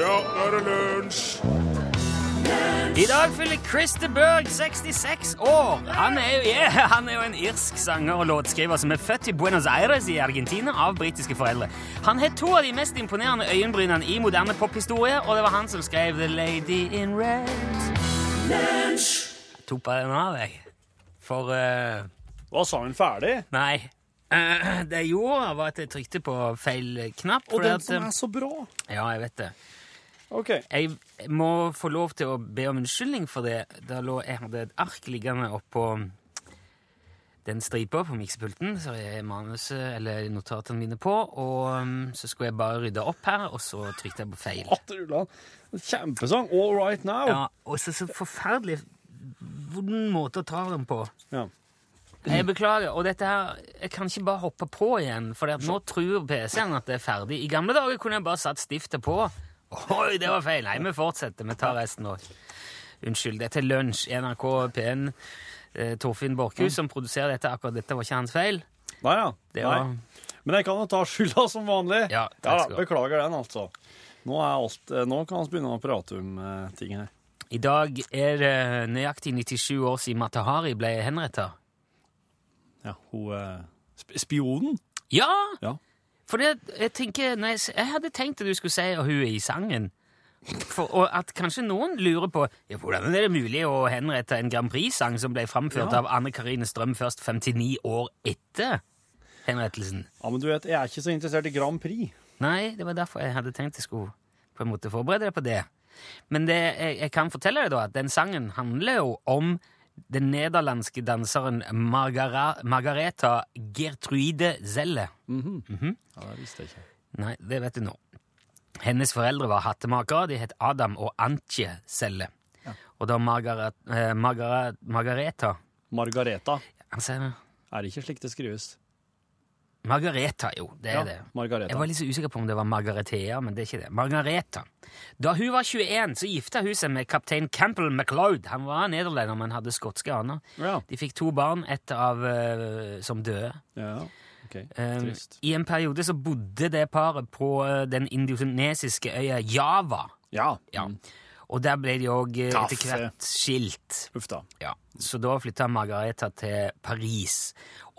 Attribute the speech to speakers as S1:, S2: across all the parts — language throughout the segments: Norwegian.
S1: Ja, nå er det lunsj!
S2: I dag fyller Christer Berg 66 år. Han er, jo, yeah, han er jo en irsk sanger og låtskriver som er født i Buenos Aires i Argentina av britiske foreldre. Han har to av de mest imponerende øyenbrynene i moderne pophistorie, og det var han som skrev The Lady in Red. Jeg tok bare den av, jeg. For eh,
S1: Var sangen ferdig?
S2: Nei. Eh, det jeg gjorde, var at jeg trykte på feil knapp.
S1: Og
S2: fordi
S1: den
S2: at, eh,
S1: som er så bra.
S2: Ja, jeg vet det.
S1: Ok.
S2: Jeg må få lov til å be om unnskyldning for det. Da lå, jeg hadde et ark liggende oppå den stripa på miksepulten, så jeg manuset, eller notatene mine på, og um, så skulle jeg bare rydde opp her, og så trykte jeg på feil.
S1: Atter Ulland. Kjempesang. All right now.
S2: Ja, og så så forferdelig vond måte å ta den på.
S1: Ja.
S2: Jeg beklager, og dette her, jeg kan ikke bare hoppe på igjen, for nå tror PC-en at det er ferdig. I gamle dager kunne jeg bare satt stiftet på. Oi, det var feil. Nei, vi fortsetter. Vi tar resten nå. Unnskyld, dette er lunsj. NRK P1. Eh, Torfinn Borchhus som produserer dette akkurat dette, var ikke hans feil.
S1: Nei, ja.
S2: Det var,
S1: Nei. Men jeg kan jo ta skylda som vanlig.
S2: Ja, takk
S1: da,
S2: skal du ha.
S1: Beklager den, altså. Nå, er alt, eh, nå kan vi begynne å prate om eh, ting her.
S2: I dag er det eh, nøyaktig 97 år siden Matahari ble henretta.
S1: Ja, hun eh, sp Spionen?
S2: Ja!
S1: Ja.
S2: For det, jeg tenker når jeg, s- jeg hadde tenkt at du skulle si at hun er i sangen. For, og at kanskje noen lurer på ja, hvordan er det mulig å henrette en Grand Prix-sang som ble framført
S1: Ja.
S2: av Anne Karine Strøm først 59 år etter henrettelsen.
S1: Ja, men du vet, jeg er ikke så interessert i Grand Prix.
S2: Nei, det var derfor jeg hadde tenkt jeg skulle på en måte forberede deg på det. Men det, jeg, jeg kan fortelle deg da at den sangen handler jo om den nederlandske danseren Margara, Margareta Gertruide Zelle.
S1: Ja, det visste jeg ikke.
S2: Nei, det vet du nå. Hennes foreldre var hattemakere. De het Adam og Antje Selle. Og da Margaret, eh, Margaret, Margareta
S1: Margareta.
S2: Han sier det.
S1: Er det ikke slik det skrives?
S2: Margareta, jo. Det er
S1: Ja,
S2: det.
S1: Margareta.
S2: Jeg var litt så usikker på om det var Margaretea, men det er ikke det. Margareta. Da hun var 21, så gifta hun seg med kaptein Campbell MacLeod. Han var nederlender, men hadde skotske aner.
S1: Ja.
S2: De fikk to barn, ett av eh, som døde.
S1: Ja, ok.
S2: Eh,
S1: Trist.
S2: I en periode så bodde det paret på eh, den indonesiske øya Java.
S1: Ja. Mm.
S2: Ja. Mm. Og der ble de òg etter
S1: Kaffe.
S2: hvert skilt.
S1: Uff da.
S2: Ja. Så da flytta Margareta til Paris.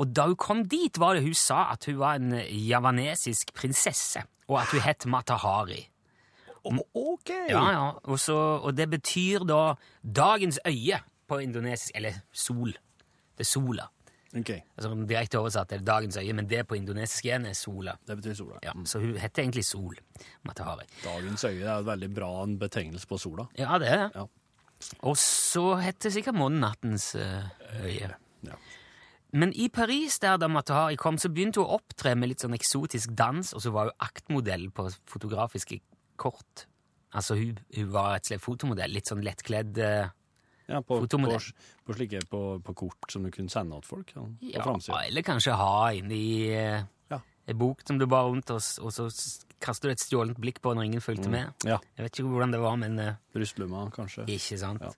S2: Og da hun kom dit, var det hun sa at hun var en eh, javanesisk prinsesse, og at hun het Matahari.
S1: Ok!
S2: Mm. Ja, ja. Og, så, og det betyr da 'dagens øye' på indonesisk. Eller sol. Det er sola.
S1: Ok,
S2: Altså Direkte oversatt er det 'dagens øye', men det på indonesisk igjen er sola.
S1: Det betyr sola. Mm,
S2: Ja, Så hun heter egentlig Sol Matahari.
S1: Dagens øye er et veldig bra en betegnelse på sola.
S2: Ja, det er det.
S1: Ja.
S2: Og så heter sikkert månen nattens eh, øye.
S1: Ja.
S2: Men i Paris, der da Matahari kom, så begynte hun å opptre med litt sånn eksotisk dans, og så var hun aktmodell på fotografiske kort. Altså, hun, hun var rett og slett fotomodell, litt sånn lettkledd eh,
S1: Ja, på, på,
S2: Fotomodell.
S1: på slike på, på kort som du kunne sende til folk. Ja, på
S2: ja,
S1: framsida.
S2: Eller kanskje ha inni eh,
S1: Ja.
S2: en bok som du bar rundt, og, s- og så s- kaster du et stjålent blikk på når ingen
S1: Mm.
S2: fulgte med.
S1: Ja.
S2: Jeg vet ikke hvordan det var, men eh,
S1: Brystlomma, kanskje.
S2: Ikke sant?
S1: Ja.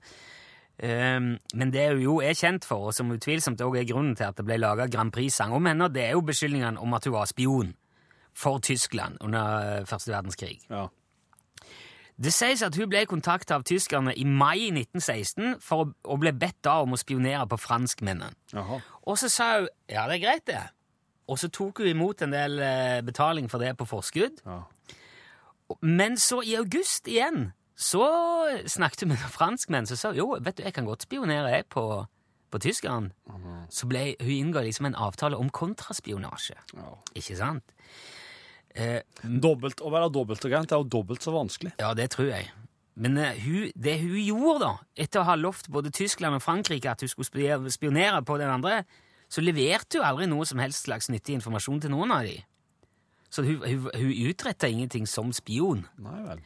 S2: Ehm, men det hun jo er kjent for, og som utvilsomt også er grunnen til at det ble laga Grand Prix-sang om henne, det er jo beskyldningene om at hun var spion for Tyskland under eh, første verdenskrig.
S1: Ja.
S2: Det sies at hun ble kontakta av tyskerne i mai 1916 for å, og ble bedt da om å spionere på franskmennene.
S1: Jaha.
S2: Og så sa hun ja, det er greit, det. Og så tok hun imot en del eh, betaling for det på forskudd.
S1: Ja.
S2: Men så i august igjen, så snakket hun med noen franskmenn som sa jo, vet du, jeg kan godt spionere jeg på, på tyskeren. Så ble hun inngå liksom en avtale om kontraspionasje.
S1: Ja.
S2: Ikke sant? Mm.
S1: Dobbelt, å være dobbeltagent er jo dobbelt så vanskelig.
S2: Ja, det tror jeg. Men eh, hun, det hun gjorde, da, etter å ha lovt både Tyskland og Frankrike at hun skulle spi- spionere på den andre, så leverte hun aldri noe som helst slags nyttig informasjon til noen av de. Så hun, hun, hun utretta ingenting som spion.
S1: Nei vel.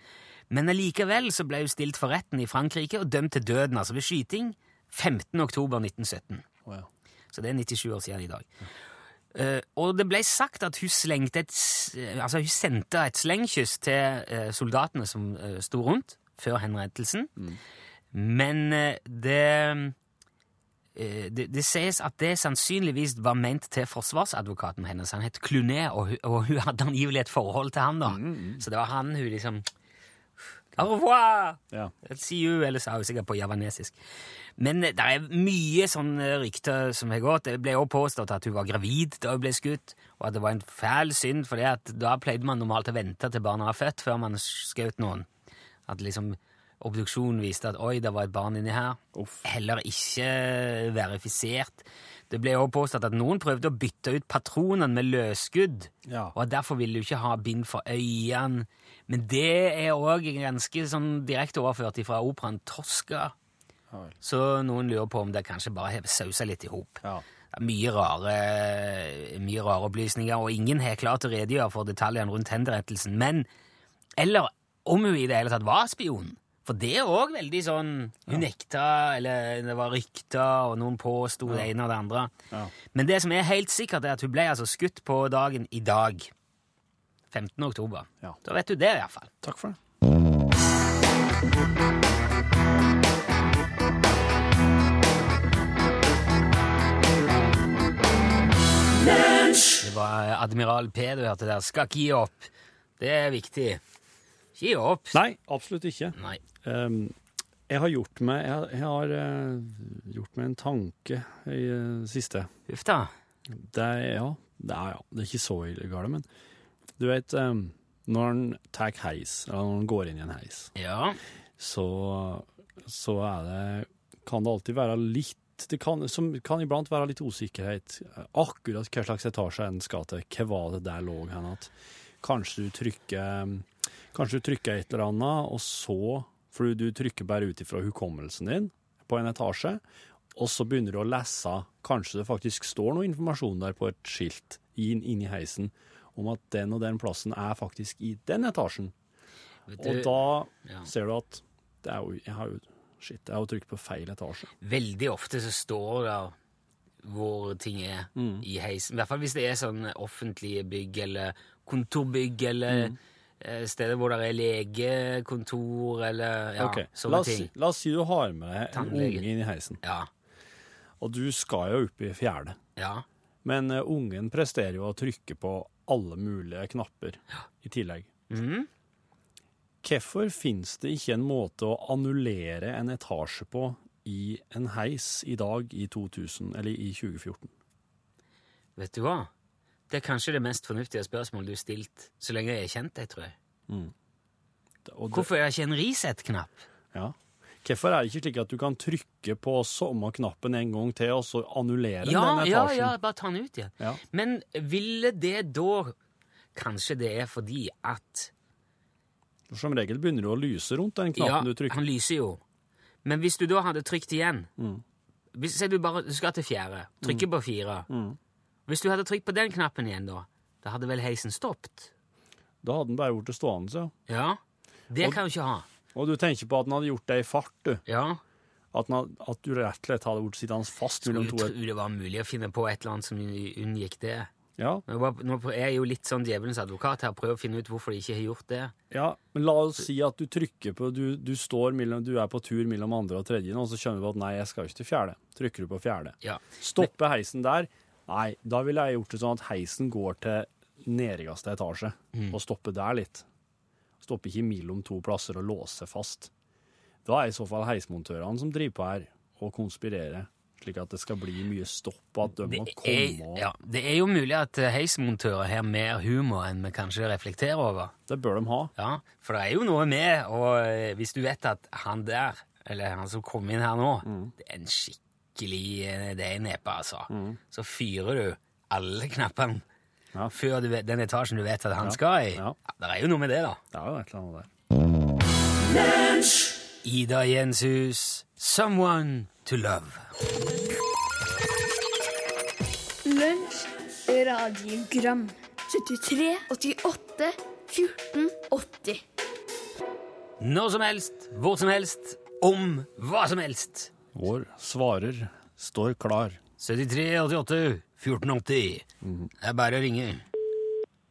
S2: Men allikevel så ble hun stilt for retten i Frankrike og dømt til døden, altså ved skyting, 15. oktober 1917.
S1: Å ja.
S2: Så det er 97 år siden i dag. Eh, og det ble sagt at hun, slengte et, s- eh, altså hun sendte et slengkyss til eh, soldatene som uh, sto rundt før henrettelsen. Men eh, det, eh, det Det sies at det sannsynligvis var ment til forsvarsadvokaten hennes. Han het Clunet, og, hun- og hun hadde angivelig et forhold til han. da. Så det var han hun liksom Au revoir!
S1: Ja.
S2: See you, eller sa hun sikkert på javanesisk. Men det er mye sånne rykter som har gått. Det ble også påstått at hun var gravid da hun ble skutt, og at det var en fæl synd, for da pleide man normalt å vente til barna var født før man skjøt noen. At liksom obduksjonen viste at oi, det var et barn inni her.
S1: Uff.
S2: Heller ikke eh, verifisert. Det ble også påstått at noen prøvde å bytte ut patronene med løsskudd,
S1: Ja.
S2: og at derfor ville du ikke ha bind for øynene. Men det er òg ganske sånn direkte overført fra operaen Tosca,
S1: Ja vel.
S2: så noen lurer på om det kanskje bare har sausa litt i hop.
S1: Ja.
S2: Det er Mye rare, mye rare opplysninger, og ingen har klart å redegjøre for detaljene rundt henrettelsen. Men Eller om hun i det hele tatt var spion. For det er òg veldig sånn Hun nekta, eller det var rykter, og noen påsto det ene og det andre.
S1: Ja.
S2: Men det som er helt sikkert, er at hun ble altså skutt på dagen i dag. 15. oktober.
S1: Ja.
S2: Da vet du det, i hvert fall.
S1: Takk for det.
S2: Det var eh, admiral P du hørte der. Skal ikke gi opp. Det er viktig. Ikke gi opp.
S1: Nei, absolutt ikke.
S2: Nei.
S1: Um, jeg har gjort meg, jeg, jeg har, eh, gjort meg en tanke i det siste.
S2: Huff da.
S1: Det er, ja, det er, ja, det er ikke så ille gale, men du vet, um, når en tar heis, eller når en går inn i en heis,
S2: Ja.
S1: så, så er det, kan det alltid være litt, det kan, som, kan iblant være litt usikkerhet, akkurat hva slags etasje en skal til, hva var det der lå hen at, kanskje du trykker, kanskje du trykker et eller annet, og så, for du trykker bare ut ifra hukommelsen din på en etasje, og så begynner du å lese, kanskje det faktisk står noe informasjon der på et skilt, inn, inn i heisen, om at den og den plassen er faktisk i den etasjen.
S2: Vet
S1: Og
S2: du,
S1: da
S2: ja.
S1: ser du at det er jo, jeg har jo, shit, jeg har jo trykt på feil etasje.
S2: Veldig ofte så står det hvor ting er
S1: Mm.
S2: i heisen. I hvert fall hvis det er sånn offentlige bygg eller kontorbygg eller
S1: Mm.
S2: eh, steder hvor det er legekontor eller ja,
S1: Ok,
S2: sånne
S1: la, oss, si-
S2: ting.
S1: la oss si du har med deg en
S2: Tannlege.
S1: unge inn i heisen,
S2: Ja,
S1: og du skal jo opp i fjerde.
S2: ja.
S1: Men eh, ungen presterer jo å trykke på alle mulige knapper i tillegg.
S2: Mhm.
S1: Hvorfor finnes det ikke en måte å annullere en etasje på i en heis i dag i 2000, eller i 2014?
S2: Vet du hva? Det er kanskje det mest fornuftige spørsmålet du har stilt så lenge jeg har kjent deg, tror jeg.
S1: Og det-
S2: Hvorfor er det ikke en reset-knapp?
S1: Ja. Hvorfor er det ikke slik at du kan trykke på samme knappen en gang til, og så annullere
S2: Ja,
S1: den
S2: ja,
S1: etasjen?
S2: ja, bare ta den ut igjen.
S1: Ja.
S2: Men ville det da Kanskje det er fordi at
S1: For Som regel begynner du å lyse rundt den knappen du trykker.
S2: han lyser jo. Men hvis du da hadde trykt igjen
S1: Mm.
S2: hvis, Se, du bare du skal til fjerde. Trykker på fire.
S1: Mm.
S2: Hvis du hadde trykt på den knappen igjen, da, da hadde vel heisen stoppet?
S1: Da hadde den bare blitt stående. Ja.
S2: Ja. Det kan du ikke ha.
S1: Og du tenker på at den hadde gjort det i fart, du.
S2: Ja.
S1: At, den hadde, at du rett og slett hadde blitt sittende fast
S2: Du
S1: mellom to
S2: tror det var mulig å finne på et eller annet som unngikk det.
S1: ja.
S2: Men hva- Nå er jeg jo litt sånn djevelens advokat her, prøver å finne ut hvorfor de ikke har gjort det.
S1: ja, men la oss si at du trykker på Du, du står mellom Du er på tur mellom andre og tredje, og så skjønner du at nei, jeg skal ikke til fjerde. Trykker du på fjerde.
S2: Ja.
S1: Stopper heisen der? Nei, da ville jeg gjort det sånn at heisen går til nederste etasje, og stopper der litt. Stopper ikke mellom to plasser og låser fast. Da er i så fall heismontørene som driver på her, og konspirerer, slik at det skal bli mye stopp, og at de
S2: Det
S1: må
S2: er,
S1: komme og
S2: ja, det er jo mulig at eh, heismontører har mer humor enn vi kanskje reflekterer over.
S1: Det bør de ha.
S2: Ja, for det er jo noe med, og eh, hvis du vet at han der, eller han som kom inn her nå,
S1: Mm.
S2: det er en skikkelig eh, det er en nepe, altså. Så fyrer du alle
S1: Mm.
S2: knappene
S1: Ja.
S2: før du vet, den etasjen du vet at han skal i.
S1: ja.
S2: Ja, Det er jo noe med det, da.
S1: Det er jo et eller annet der.
S2: Ida Jenshus, 'Someone to Love'.
S3: Lunsj, radiogram 73, 88, 14, 80
S2: Når som helst, hvor som helst, om hva som helst.
S1: Vår svarer står klar.
S2: 73 88 1480. Det er bare å ringe.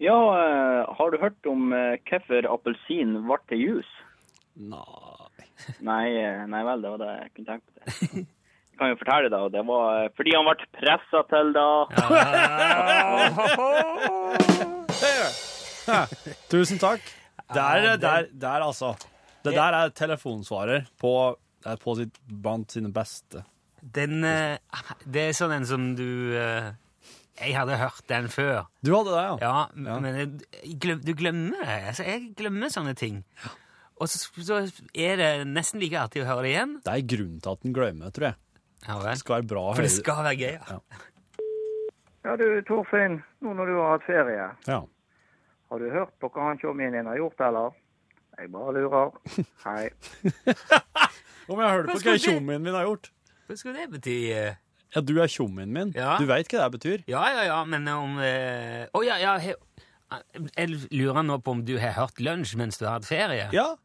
S4: Ja, eh, har du hørt om eh, hvorfor appelsin ble til jus?
S1: Nei
S4: Nei, eh, nei vel, det var det jeg kunne tenkt på. det. Jeg kan jo fortelle deg, og det var eh, fordi han ble pressa til da.
S1: Tusen takk. Der, der, der, altså. Det der er telefonsvarer på, det er på sitt, blant sine beste.
S2: Den eh, Det er sånn en som du eh, Jeg hadde hørt den før.
S1: Du hadde det, ja?
S2: Ja, men jeg glem, du glemmer det. Altså, jeg glemmer sånne ting. Og så, så er det nesten like artig å høre det igjen.
S1: Det er grunnen til at den glemmer, tror jeg.
S2: Ja,
S1: Det
S2: vel.
S1: skal være bra å
S2: For det
S1: høre-
S2: skal være gøy. Ja.
S4: Ja, du Torfinn, nå når du har hatt ferie,
S1: Ja.
S4: har du hørt på hva han tjommien din har gjort, eller? Jeg bare lurer. Hei.
S1: Om jeg hører på hva
S2: skulle det-
S1: tjommien min har gjort?
S2: Hva skulle det bety? eh?
S1: Ja, du er tjommien min.
S2: Ja.
S1: Du veit hva det betyr?
S2: Ja, ja, ja, men om Å eh, å, ja, ja. He, jeg lurer nå på om du har hørt lunsj mens du har hatt ferie?
S1: Ja.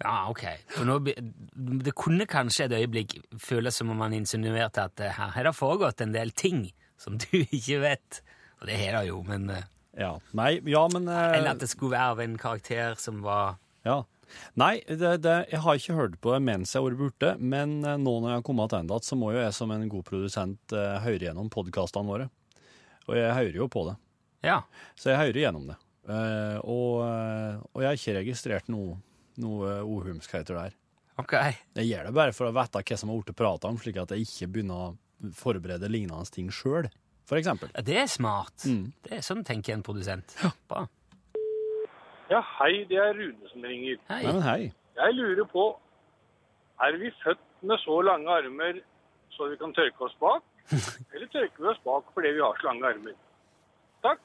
S2: Ja, ok. For nå, be- det kunne kanskje et øyeblikk føles som om han insinuerte at eh, her har det foregått en del ting som du ikke vet. Og det har det jo, men eh,
S1: Ja. Nei, ja, men eh,
S2: Eller at det skulle være av en karakter som var
S1: Ja. Nei, det, det, jeg har ikke hørt på det mens jeg har vært borte, men eh, nå når jeg har kommet tilbake igjen, så må jo jeg som en god produsent eh, høre gjennom podkastene våre. Og jeg hører jo på det,
S2: Ja.
S1: så jeg hører gjennom det. Eh, og, eh, og jeg har ikke registrert noe, noe eh, ohumskheter der.
S2: Ok.
S1: Jeg gjør det bare for å vite hva som har blitt prata om, slik at jeg ikke begynner å forberede lignende ting sjøl, for eksempel.
S2: Ja, det er smart.
S1: Mm.
S2: Det er Sånn tenker en produsent. Bra.
S5: Ja, hei, det er Rune som ringer.
S2: Hei.
S1: Nei, men hei.
S5: Jeg lurer på, er vi født med så lange armer så vi kan tørke oss bak? Eller tørker vi oss bak fordi vi har så lange armer? Takk.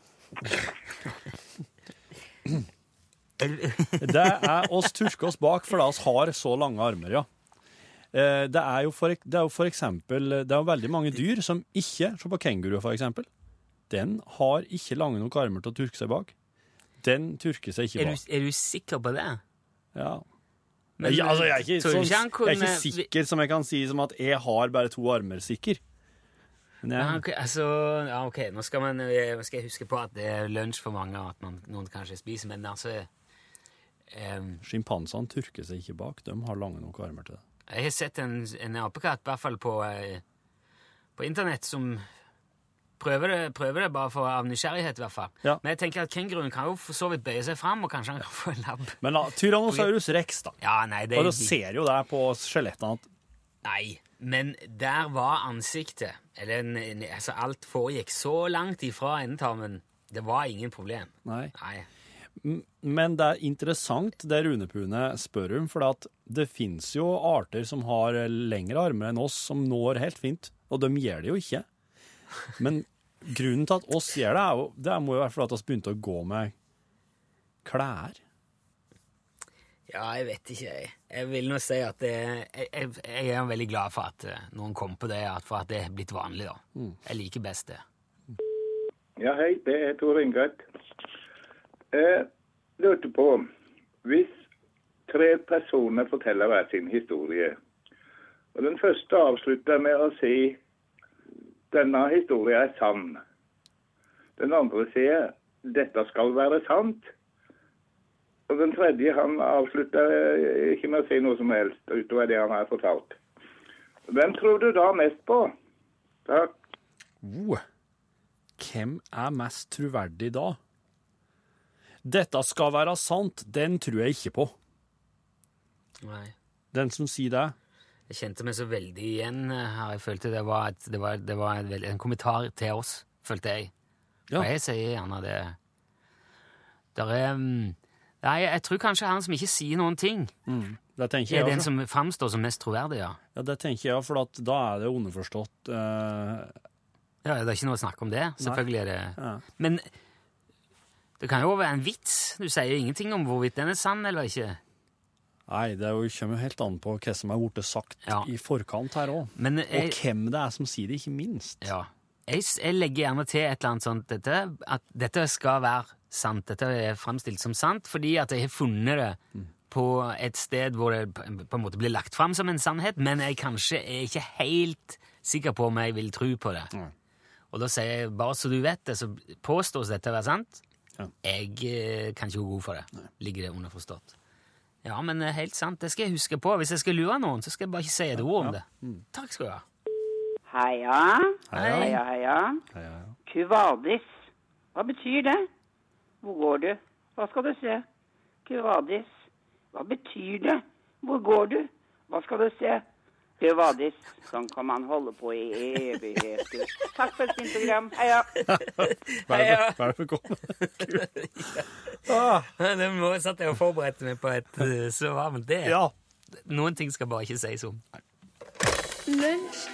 S1: Det er oss turke oss bak, for da oss har så lange armer, ja. Eh, Det er, jo for, det er jo for eksempel Det er jo veldig mange dyr som ikke Se på kenguru, for eksempel. Den har ikke lange nok armer til å turke seg bak. Den turker seg ikke
S2: Er,
S1: bak.
S2: du, er du sikker på det?
S1: Ja.
S2: Men,
S1: jeg, altså, jeg, er ikke,
S2: tror du
S1: sånn-
S2: ikke han
S1: jeg er
S2: kunne-
S1: ikke sikker som jeg kan si som at jeg har bare to armer sikker. Men
S2: Ja,
S1: jeg,
S2: ok, altså, ja, ok, nå skal, man, eh, skal jeg huske på at det er lunsj for mange, og at man, noen kanskje spiser, men altså eh, em,
S1: Sjimpansene turker seg ikke bak. De har lange nok armer til det.
S2: Jeg har sett en, en apekatt, i hvert fall på, eh, på internett, som prøver det, prøver det bare for av nysgjerrighet, i hvert fall.
S1: Ja.
S2: Men jeg tenker at kenguruen kan jo for så vidt bøye seg fram, og kanskje han kan få en labb.
S1: Men da, Tyrannosaurus rex, da.
S2: Ja, nei, det
S1: Og du ser jo der på skjelettene at
S2: Nei, men der var ansiktet. Eller en- en- altså, alt foregikk så langt ifra endetarmen. Det var ingen problem.
S1: Nei.
S2: Nei.
S1: Men det er interessant det Rune Pune spør om, for at det finnes jo arter som har lengre armer enn oss, som når helt fint, og de gjør det jo ikke. Men grunnen til at oss gjør det, er jo, det må jo være fordi at vi begynte å gå med klær.
S2: Ja, jeg vet ikke, jeg. Jeg vil nå si at det, jeg, jeg, jeg er veldig glad for at eh, noen kom på det, at- for at det er blitt vanlig, da.
S1: Mm.
S2: Jeg liker best det.
S6: Ja, hei, det er Tor Ingat. Jeg lurte på Hvis tre personer forteller hver sin historie, og den første avslutter med å si 'Denne historien er sann'. Den andre sier 'Dette skal være sant'. Og den tredje han avslutter eh, ikke med å si noe som helst utover det han har fortalt. Hvem tror du da mest på? Takk.
S1: Oh. Hvem er mest troverdig da? Dette skal være sant, den tror jeg ikke på.
S2: Nei.
S1: Den som sier det.
S2: Jeg kjente meg så veldig igjen eh, her. Jeg følte det var, et, det var, det var en, veld- en kommentar til oss, følte jeg.
S1: Ja.
S2: Og jeg sier gjerne det. Der er mm, Nei, jeg tror kanskje han som ikke sier noen ting,
S1: Det tenker
S2: er
S1: jeg
S2: den
S1: også.
S2: som framstår som mest troverdig, ja.
S1: Ja, det tenker jeg, for at da er det underforstått. eh,
S2: Ja, Det er ikke noe å snakke om det. Selvfølgelig er det
S1: Ja.
S2: Men det kan jo være en vits. Du sier ingenting om hvorvidt den er sann eller ikke.
S1: Nei, det er jo- kommer jo helt an på hva som er blitt sagt
S2: Ja.
S1: i forkant her òg.
S2: Men jeg,
S1: Og hvem det er som sier det, ikke minst.
S2: Ja. Jeg, s- jeg legger gjerne til et eller annet sånt dette, at dette skal være sant. Dette er fremstilt som sant fordi at jeg har funnet det på et sted hvor det på på en måte blir lagt fram som en sannhet, men jeg kanskje er ikke helt sikker på om jeg vil tro på det. Og da sier jeg bare så du vet det, så påstås dette å være sant.
S1: Ja.
S2: Jeg eh, kan ikke gå god for det. Ligger det underforstått. Ja, men eh, helt sant. Det skal jeg huske på. Hvis jeg skal lure noen, så skal jeg bare ikke si et ord om det. Takk skal du ha.
S7: Heia,
S1: Heia.
S7: heia, heia.
S1: Ja, ja, ja.
S7: Kuvadis. Hva betyr det? Hvor går du? Hva skal du se? Kuvadis.
S8: Hva betyr det? Hvor går du? Hva skal du se? Du, Vadis, sånn kan man holde på i evigheter. Takk for et fint program. Heia.
S1: Vær vær velkommen. Ah,
S2: Det må jeg satt jeg og forberedte meg på et eh, svar, men det
S1: ja.
S2: Noen ting skal bare ikke sies om.
S3: Lunsj,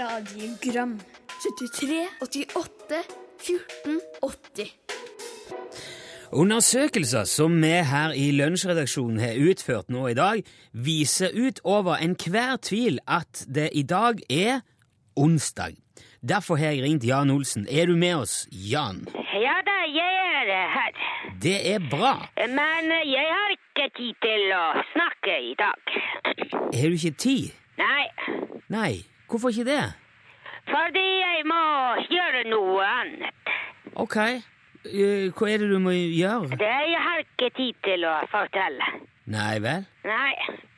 S3: radiogram 73, 88, 14, 80
S2: Undersøkelser som vi her i lunsjredaksjonen har utført nå i dag, viser ut over enhver tvil at det i dag er onsdag. Derfor har jeg ringt Jan Olsen. Er du med oss, Jan?
S7: Ja da, jeg er her.
S2: Det er bra.
S7: Men jeg har ikke tid til å snakke i dag.
S2: Har du ikke tid?
S7: Nei,
S2: Nei. Hvorfor ikke det?
S7: fordi jeg må gjøre noe annet.
S2: Ok. Eh, Hva er det du må gjøre?
S7: Det jeg har ikke tid til å fortelle.
S2: Nei vel?
S7: Nei,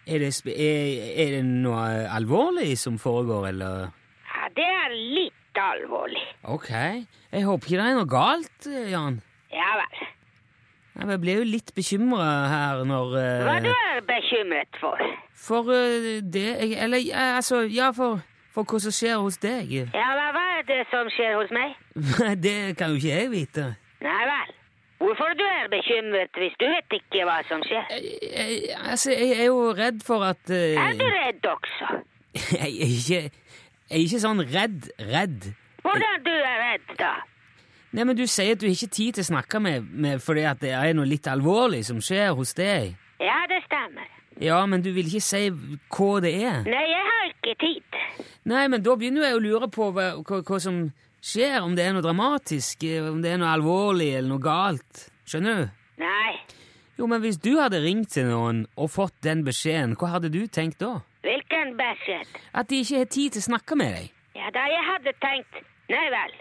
S2: Er det, sp- er, er det noe alvorlig som foregår, eller?
S7: ja, det er litt alvorlig.
S2: Ok. Jeg håper ikke det er noe galt, eh, Jan.
S7: Ja vel.
S2: Nei, men Jeg ble jo litt bekymra her når eh,
S7: Hva du er bekymret for?
S2: For eh, det jeg- Eller ja, altså, ja, for, for hva som skjer hos deg.
S7: Ja, hva hva er det som skjer hos meg?
S2: det kan jo ikke jeg vite.
S7: Nei vel. Hvorfor du er bekymret hvis du vet ikke hva som skjer?
S2: Jeg, jeg, altså, jeg er jo redd for at eh,
S7: Er du redd også?
S2: jeg, er ikke, jeg er ikke sånn redd, redd.
S7: Hvordan du er redd da?
S2: Nei, men Du sier at du ikke har tid til å snakke med, med fordi at det er noe litt alvorlig som skjer hos deg.
S7: Ja, det stemmer.
S2: Ja, men du vil ikke si hva det er.
S7: Nei, jeg har ikke tid.
S2: Nei, men da begynner jeg å lure på hva, hva, hva som skjer, om det er noe dramatisk, eh, om det er noe alvorlig eller noe galt. Skjønner du?
S7: Nei,
S2: Jo, men hvis du hadde ringt til noen og fått den beskjeden, hva hadde du tenkt da?
S7: hvilken beskjed?
S2: At de ikke har tid til å snakke med deg?
S7: Ja, da jeg hadde tenkt, nei vel.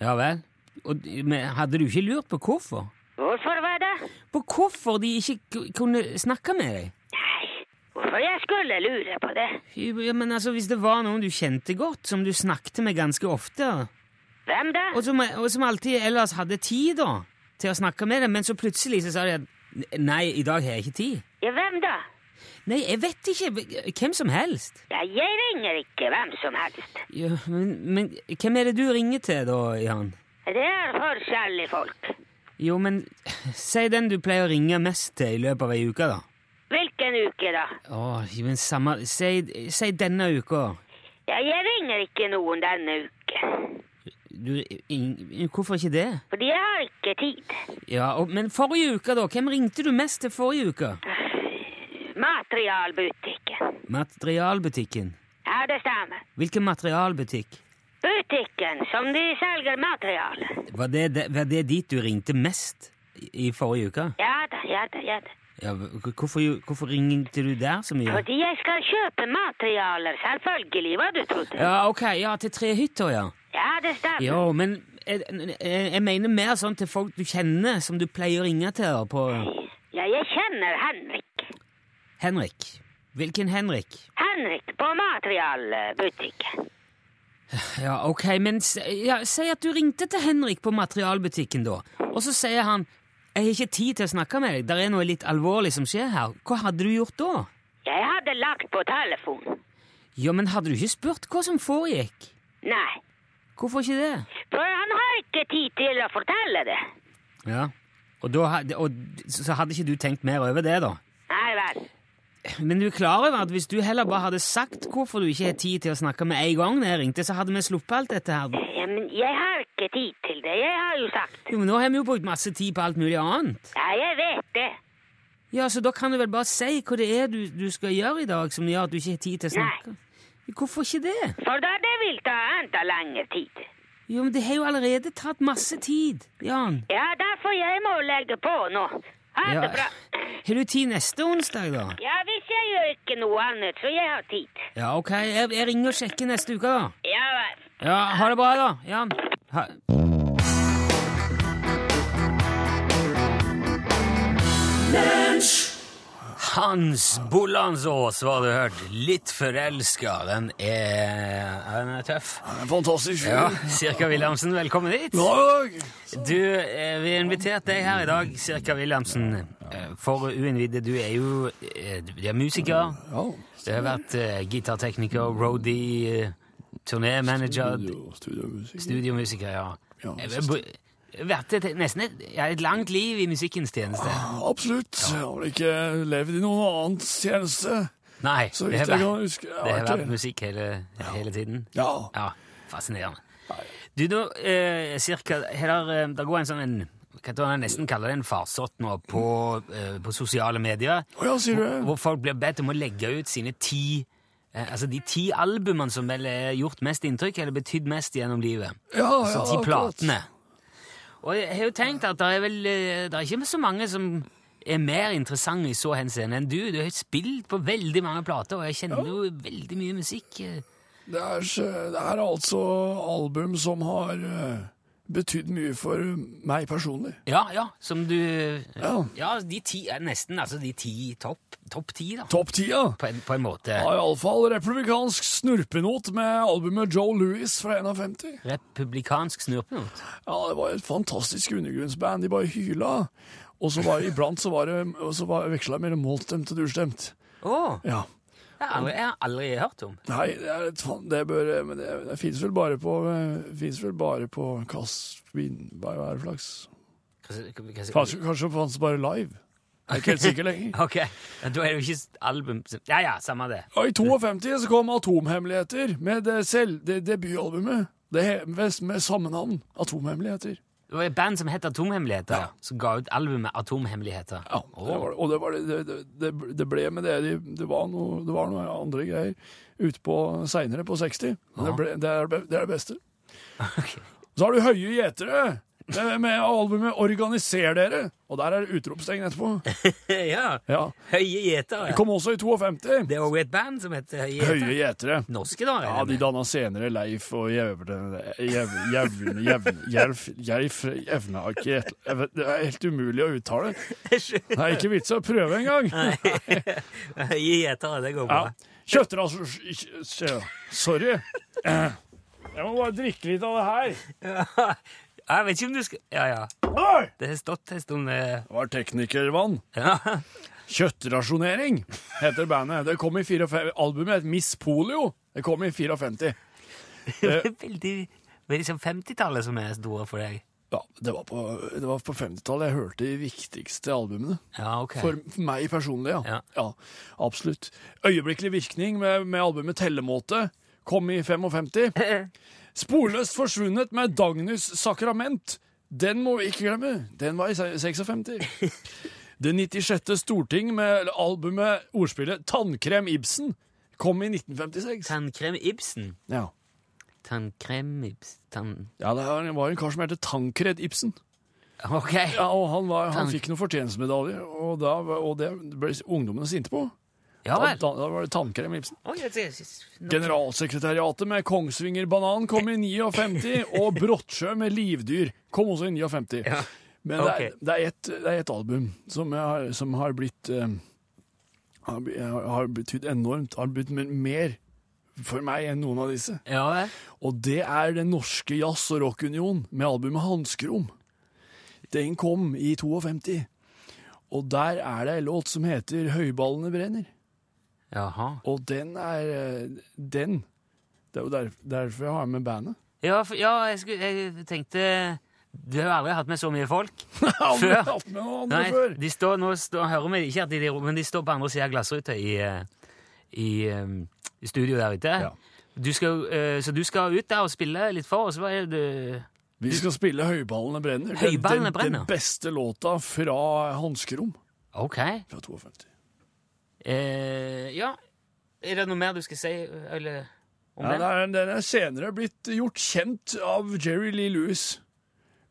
S2: Ja vel. Og, men hadde du ikke lurt på hvorfor?
S7: Hvorfor var det?
S2: På hvorfor de ikke k- kunne snakke med deg?
S7: Nei, hvorfor jeg skulle lure på det?
S2: Ja, men altså, Hvis det var noen du kjente godt, som du snakket med ganske ofte,
S7: Hvem da?
S2: og som, og som alltid ellers hadde tid da, til å snakke med deg, men så plutselig så sa de at "N- nei, i dag har jeg ikke tid.
S7: Ja, hvem da?
S2: Nei, jeg vet ikke. hv- Hvem som helst.
S7: Ja, jeg ringer ikke hvem som helst.
S2: Ja, men, men hvem er det du ringer til da, Jan?
S7: Det er forskjellige folk.
S2: Jo, men si den du pleier å ringe mest til i løpet av ei uke, da.
S7: Hvilken uke da?
S2: Åh, men samme, si, si denne uka.
S7: Ja, jeg ringer ikke noen denne uke.
S2: Du, ing- hvorfor ikke det?
S7: Fordi jeg har ikke tid.
S2: Ja, og, Men forrige uke, da? Hvem ringte du mest til forrige uke?
S7: Materialbutikken.
S2: Materialbutikken.
S7: Ja, det stemmer.
S2: Hvilken materialbutikk?
S7: Butikken som de selger material.
S2: Var det, de- var det dit du ringte mest i, i forrige uke?
S7: Ja da, ja da, ja da.
S2: Ja, hv- hvorfor, jo- hvorfor ringte du der så mye?
S7: Fordi jeg skal kjøpe materialer, selvfølgelig, hva du trodde.
S2: Ja, ok, ja, til trehytta, ja.
S7: Ja, det stemmer.
S2: Jo, men eh, jeg, jeg, jeg mener mer sånn til folk du kjenner, som du pleier å ringe til da, på
S7: Ja, jeg kjenner Henrik.
S2: Henrik. Hvilken Henrik?
S7: Henrik på materialbutikken.
S2: Ja, ok, men s- ja, si at du ringte til Henrik på materialbutikken da, og så sier han jeg har ikke tid til å snakke med deg, det er noe litt alvorlig som skjer her. Hva hadde du gjort da?
S7: Jeg hadde lagt på telefonen.
S2: Ja, men hadde du ikke spurt hva som foregikk?
S7: Nei,
S2: Hvorfor ikke det?
S7: for han har ikke tid til å fortelle det.
S2: Ja, og, da, hadde- og så hadde ikke du tenkt mer over det da?
S7: Nei vel.
S2: Men du er klar over at hvis du heller bare hadde sagt hvorfor du ikke har tid til å snakke med en gang når jeg ringte, så hadde vi sluppet alt dette her.
S7: Ja, men jeg har ikke tid til det, jeg har jo sagt.
S2: Jo, men nå har vi jo brukt masse tid på alt mulig annet.
S7: Ja, jeg vet det.
S2: Ja, så da kan du vel bare si hva det er du, du skal gjøre i dag som gjør at du ikke har tid til å snakke. Hvorfor ikke det?
S7: For da det vil ta enda lengre tid.
S2: Jo, men det har jo allerede tatt masse tid, Jan.
S7: Ja, derfor jeg må legge på nå. Ha det
S2: Ja.
S7: bra.
S2: Har du tid neste onsdag da?
S7: Ja, hvis jeg gjør ikke noe annet, så jeg har tid.
S2: Ja, ok, jeg, jeg ringer og sjekker neste uke da.
S7: Ja vel.
S2: Ja, ha det bra da, Jan. Ha. Hans Bollandsås, var det hørt. Litt forelska. Den er ja, Den er tøff.
S9: Fantastisk.
S2: Ja, Sirka Wilhelmsen, velkommen hit. Du, eh, vi har invitert deg her i dag, Sirka Wilhelmsen. Eh, For uinnvidde, du er jo eh, du er musiker. Du har vært eh, gitartekniker, roadie, eh, turnémanager,
S9: studiomusikk.
S2: studiomusiker, ja.
S9: Ja,
S2: Eh, br- Vært et, nesten et, ja, et langt liv i musikkens tjeneste.
S9: Ah, Absolutt. Jeg har ikke levd i noen annens tjeneste.
S2: Nei,
S9: Så
S2: det
S9: vidt
S2: har
S9: jeg kan
S2: vært-
S9: huske. jeg
S2: Det har
S9: vært
S2: vært musikk hele, hele tiden?
S9: Ja.
S2: Ja, Fascinerende. Du, nå, eh, cirka, her, eh, det går en sånn en, kan du nesten kalle det en farsott nå på, eh, på sosiale medier,
S9: Å ja, sier du
S2: hvor,
S9: det?
S2: hvor folk blir bedt om å legge ut sine ti eh, Altså de ti albumene som vel har gjort mest inntrykk, eller betydd mest gjennom livet.
S9: Ja,
S2: altså
S9: ja,
S2: ti
S9: akkurat.
S2: platene. Og jeg har jo tenkt at det er vel eh, Det er ikke så mange som er mer interessante i så henseende enn du. Du har spilt på veldig mange plater, og jeg kjenner jo veldig mye musikk. eh.
S9: Det er, så- det er altså album som har eh, betydd mye for meg personlig.
S2: Ja, ja, som du Ja,
S9: Ja.
S2: de ti er nesten altså de ti topp topp ti, da.
S9: Topp tida!
S2: På en, på en måte.
S9: Ja, Iallfall republikansk snurpenot med albumet Joe Louis fra 51.
S2: Republikansk snurpenot.
S9: Ja, det var et fantastisk undergrunnsband. De bare hyla. Og så var iblant så var det og så var, veksla jeg mellom målstemt og durstemt.
S2: Å!
S9: Ja.
S2: det har jeg har aldri hørt om.
S9: Nei, det er et fan... Det bør Men det, det fins vel bare på eh, Fins vel bare på Kass... Vin... Hva er det flaks?
S2: Hva- hva- hva-
S9: Kanskje, kanskje det fantes bare live? Jeg er ikke helt sikker lenger.
S2: Ok, ja, da er det jo ikke s- album som- Ja ja, samme det.
S9: Og I 52 så kom Atomhemmeligheter med det selv, det debutalbumet. Det he- med, med samme navn. Atomhemmeligheter.
S2: Det var et band som het Atomhemmeligheter, som ga ut albumet Atomhemmeligheter.
S9: Ja, det var, det. og det, var det, det, det, det ble med det. de- Det var noe, det var noe andre greier ute på seinere, på 60. Men Det, ble, det, er, det er det beste. Så har du Høye gjetere med, med albumet Organiser dere. Og der er det utropstegn etterpå.
S2: ja.
S9: Ja.
S2: Høye gjeter.
S9: Det
S2: Ja.
S9: kom også i 52.
S2: Det var jo et band som het Høye
S9: Høye
S2: gjeter.
S9: gjetere.
S2: Norske, da?
S9: Ja, de danna senere Leif og Jevne Jevne Jevne Jevne Det er helt umulig å uttale. Det er ikke vits i å prøve engang.
S2: Høye gjeter, det går bra.
S9: Ja. Kjøttrasjon Sorry. Eh, Jeg må bare drikke litt av det her.
S2: Ja, Jeg vet ikke om du skal Ja, ja.
S9: Oi!
S2: Det har stått en stund eh,
S9: Det var teknikervann.
S2: ja.
S9: Kjøttrasjonering heter bandet. Det kom i 54. Albumet het Miss Polio. Det kom i 54.
S2: Veldig Det er liksom 50-tallet som er store for deg.
S9: Ja, det var på, det var på 50-tallet jeg hørte de viktigste albumene.
S2: Ja, ok.
S9: For meg personlig, ja.
S2: Ja.
S9: ja. absolutt. Øyeblikkelig virkning med, med albumet Tellemåte kom i 55. Sporløst forsvunnet med Dagnys sakrament. Den må vi ikke glemme. Den var i se- 56. Det 96. storting med albumet ordspillet Tannkrem Ibsen kom i 1956.
S2: Tannkrem Ibsen.
S9: Ja,
S2: Tannkrem Ibsen Tann...
S9: ja det var en- var en kar som het Tankred Ibsen.
S2: Ok.
S9: Ja, og han, var, han
S2: Tank-
S9: fikk noen fortjenestemedaljer, og, da, var- og det ble ungdommene sinte på.
S2: Ja
S9: Da,
S2: vel.
S9: da, da var det Tannkrem Ibsen.
S2: Oi, jeg ser- jeg ser- nå-
S9: Generalsekretariatet med Kongsvinger Banan kom i 59, og Brottsjø med Livdyr kom også i 59.
S2: Ja.
S9: Men det er- det er ett- det er ett album som har, som har blitt eh, har, bli- har har betydd enormt, har betydd mer- mer for meg enn noen av disse.
S2: Ja vel.
S9: Og det er Den norske jazz- og rockunion med albumet Hanskrom. Den kom i 52. Og der er det en låt som heter Høyballene brenner.
S2: Jaha.
S9: Og den er eh, Den. Det er jo derf- derfor jeg har med bandet.
S2: Ja, for, ja jeg, skulle, jeg tenkte Du har jo aldri hatt med så mye folk.
S9: Aldri
S2: Før.
S9: hatt med noen andre
S2: Nei,
S9: før.
S2: de står, nå står, hører vi ikke at de er i rom, men de står på andre siden av glassruta i, eh, i, eh, i studio der ute.
S9: Ja.
S2: Du skal, eh, så du skal ut der og spille litt for, og så er du
S9: Vi skal spille Høyballene brenner. Den-
S2: Høyballene
S9: den,
S2: brenner.
S9: Den beste låta fra Hanskerom
S2: Ok.
S9: fra 52.
S2: Eh, ja. Er det noe mer du skal si eller, om
S9: Ja,
S2: den?
S9: den, er, den er senere blitt gjort kjent av Jerry Lee Lewis,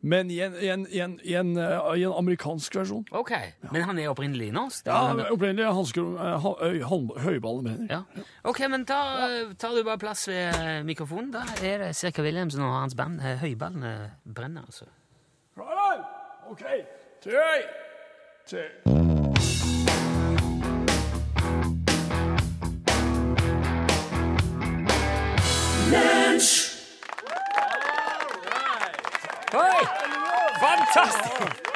S9: men i en, i en, i en, i en, eh, i en amerikansk versjon.
S2: Ok. Men han er opprinnelig norsk?
S9: Ja,
S2: eller?
S9: opprinnelig Hanskerom eh, ha, øy, hånd- Høyballene brenner.
S2: Ja. Ok, men tar, tar du bare plass ved eh, mikrofonen. Da er det Sirka Wilhelmsen og hans band eh, Høyballene brenner, altså.
S9: Klar, OK. Tre, tre.
S2: Fantastisk!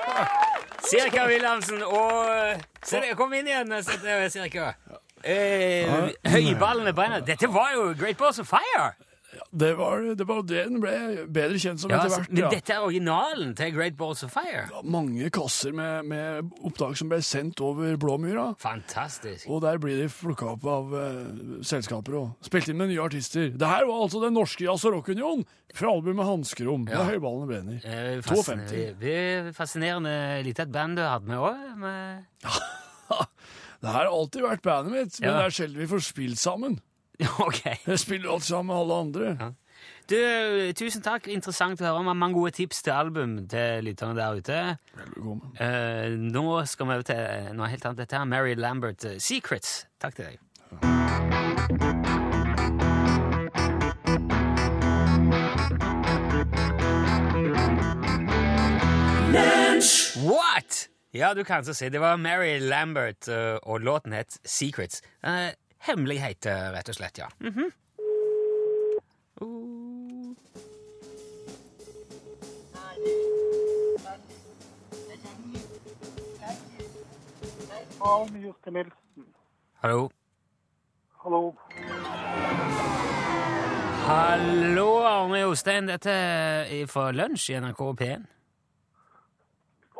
S2: Sirka Wilhelmsen og eh, Se, det kom inn igjen, så det er Sirka. Eh, Høyballen med brenner. Dette var jo Great Balls of Fire!
S1: Det var det var det den ble bedre kjent som
S2: Ja,
S1: etter
S2: altså,
S1: hvert.
S2: men
S1: Ja.
S2: dette er originalen til Great Balls of Fire.
S1: Mange kasser med, med oppdrag som ble sendt over Blåmyra.
S2: Fantastisk.
S1: Og der blir de plukka opp av eh, selskaper og spilt inn med nye artister. Det her var altså Den norske jazz- og rockunion fra albumet Hanskerom.
S2: Ja.
S1: Ja. Høyballene brenner.
S2: Eh,
S1: 52.
S2: fascinerende, det er fascinerende lite et band du hadde med òg. med-
S1: Det her har alltid vært bandet mitt, men
S2: Ja.
S1: det er sjelden vi får spilt sammen.
S2: Ok.
S1: Jeg spiller alltid sammen med alle andre.
S2: Du, tusen takk. Interessant å høre om mange gode tips til album til lytterne der ute.
S1: Velbekomme.
S2: Eh, nå skal vi over til eh, noe helt annet. Dette er Mary Lambert, eh, 'Secrets'. Takk til deg. What?! Ja, du kan så si. Det var Mary Lambert, eh, og låten het 'Secrets'. Eh, hemmelighet, eh, rett og slett, ja. Mhm. Oh. Hallo.
S5: Hallo.
S2: Hallo, Arne Jostein. Dette er fra lunsj i NRK P1.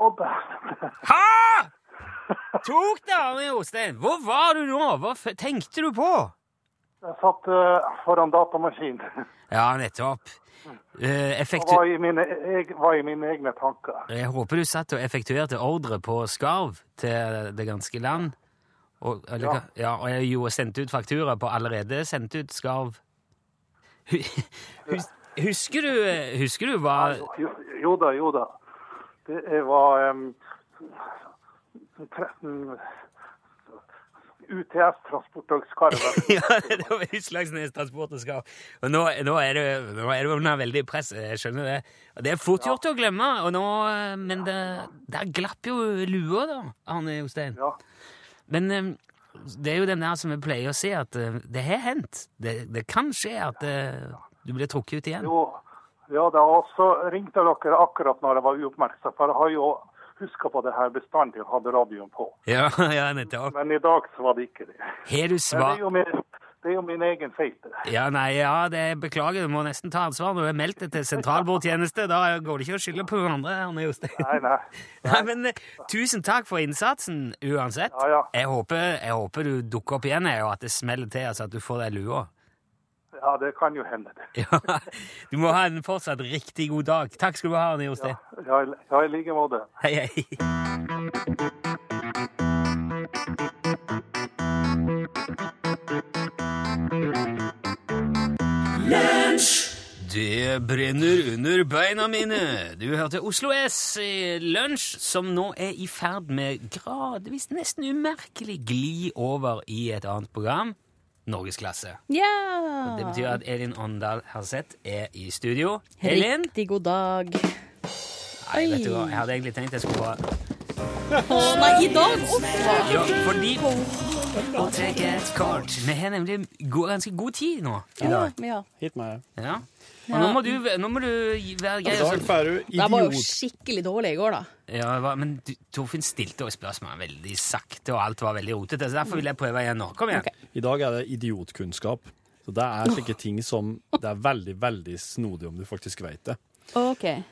S5: Å, dæven.
S2: Ha! Tok det, Arne Jostein! Hvor var du nå? Hva f tenkte du på?
S5: Jeg satt eh, foran datamaskinen
S2: Ja, nettopp. Eh,
S5: og
S2: effektu
S5: var i, mine, eg, var i mine egne tanker.
S2: jeg håper du satt og effektuerte ordre på skarv til det ganske land. Og, eller,
S5: Ja.
S2: hva- ja, og jeg jo sendte ut faktura på allerede sendt ut skarv. Hu- Hus husker, du, husker du hva
S5: Jo, jo da, jo da. Det er- var em, 13 UTS-transportdagskarven.
S2: Ja, det var Utslagsnes Transport og Skarv. Og nå, nå er det nå er det under veldig press, jeg skjønner det. Og det er fort gjort å glemme, og nå, eh, men det, der glapp jo lua, da, Arne Jostein.
S5: Ja.
S2: Men eh, det er jo den der som vi pleier å si, at eh, det har hendt. Det, det kan skje at eh, du blir trukket ut igjen.
S5: Jo, ja da, og så ringte dere akkurat når jeg var uoppmerksom, for jeg har jo huska på det her bestandig og hadde radioen på.
S2: Ja, ja, nettopp.
S5: Men i dag så var det ikke det.
S2: Har du
S5: Men det er
S2: svar
S5: jo min, det er jo min egen feil. det.
S2: Ja, nei, ja, det beklager, du må nesten ta ansvar når du er meldt det til sentralbordtjeneste. Da går det ikke å skylde på hverandre, Arne Jostein.
S5: Nei, nei.
S2: Nei, men eh, Tusen takk for innsatsen uansett.
S5: Ja, ja.
S2: Jeg, håper, jeg håper du dukker opp igjen, jeg, og at det smeller til, altså at du får deg lua.
S5: Ja, det kan jo hende, det.
S2: Ja. Du må ha en fortsatt riktig god dag. Takk skal du ha, Arne Jostein.
S5: Ja, i- ja i like måte.
S2: Hei, hei. Det brenner under beina mine. Du hørte Oslo S i lunsj, som nå er i ferd med gradvis, nesten umerkelig, gli over i et annet program. Norgesklasse. Og Det betyr at Elin Åndal Herseth er i studio. Elin?
S7: Riktig god dag.
S2: Nei, vet du hva, jeg hadde egentlig tenkt jeg skulle bare
S7: Å nei, i dag! Uff,
S2: Ja, fordi Og trekk et kort. Vi har nemlig go ganske god tid nå i dag.
S7: ja.
S1: Hit meg.
S2: Ja. Og nå må du, nå må du gi- være grei.
S1: I dag
S2: og så-
S1: får du
S7: Det var jo
S1: idiot.
S7: skikkelig dårlig i går, da.
S2: Ja, hva- men du- Torfinn stilte også spørsmål veldig sakte, og alt var veldig rotete. Så derfor vil jeg prøve igjen nå. Kom igjen.
S7: Ok.
S1: I dag er det idiotkunnskap. Så det er slike ting som Det er veldig, veldig snodig om du faktisk veit det.
S7: OK.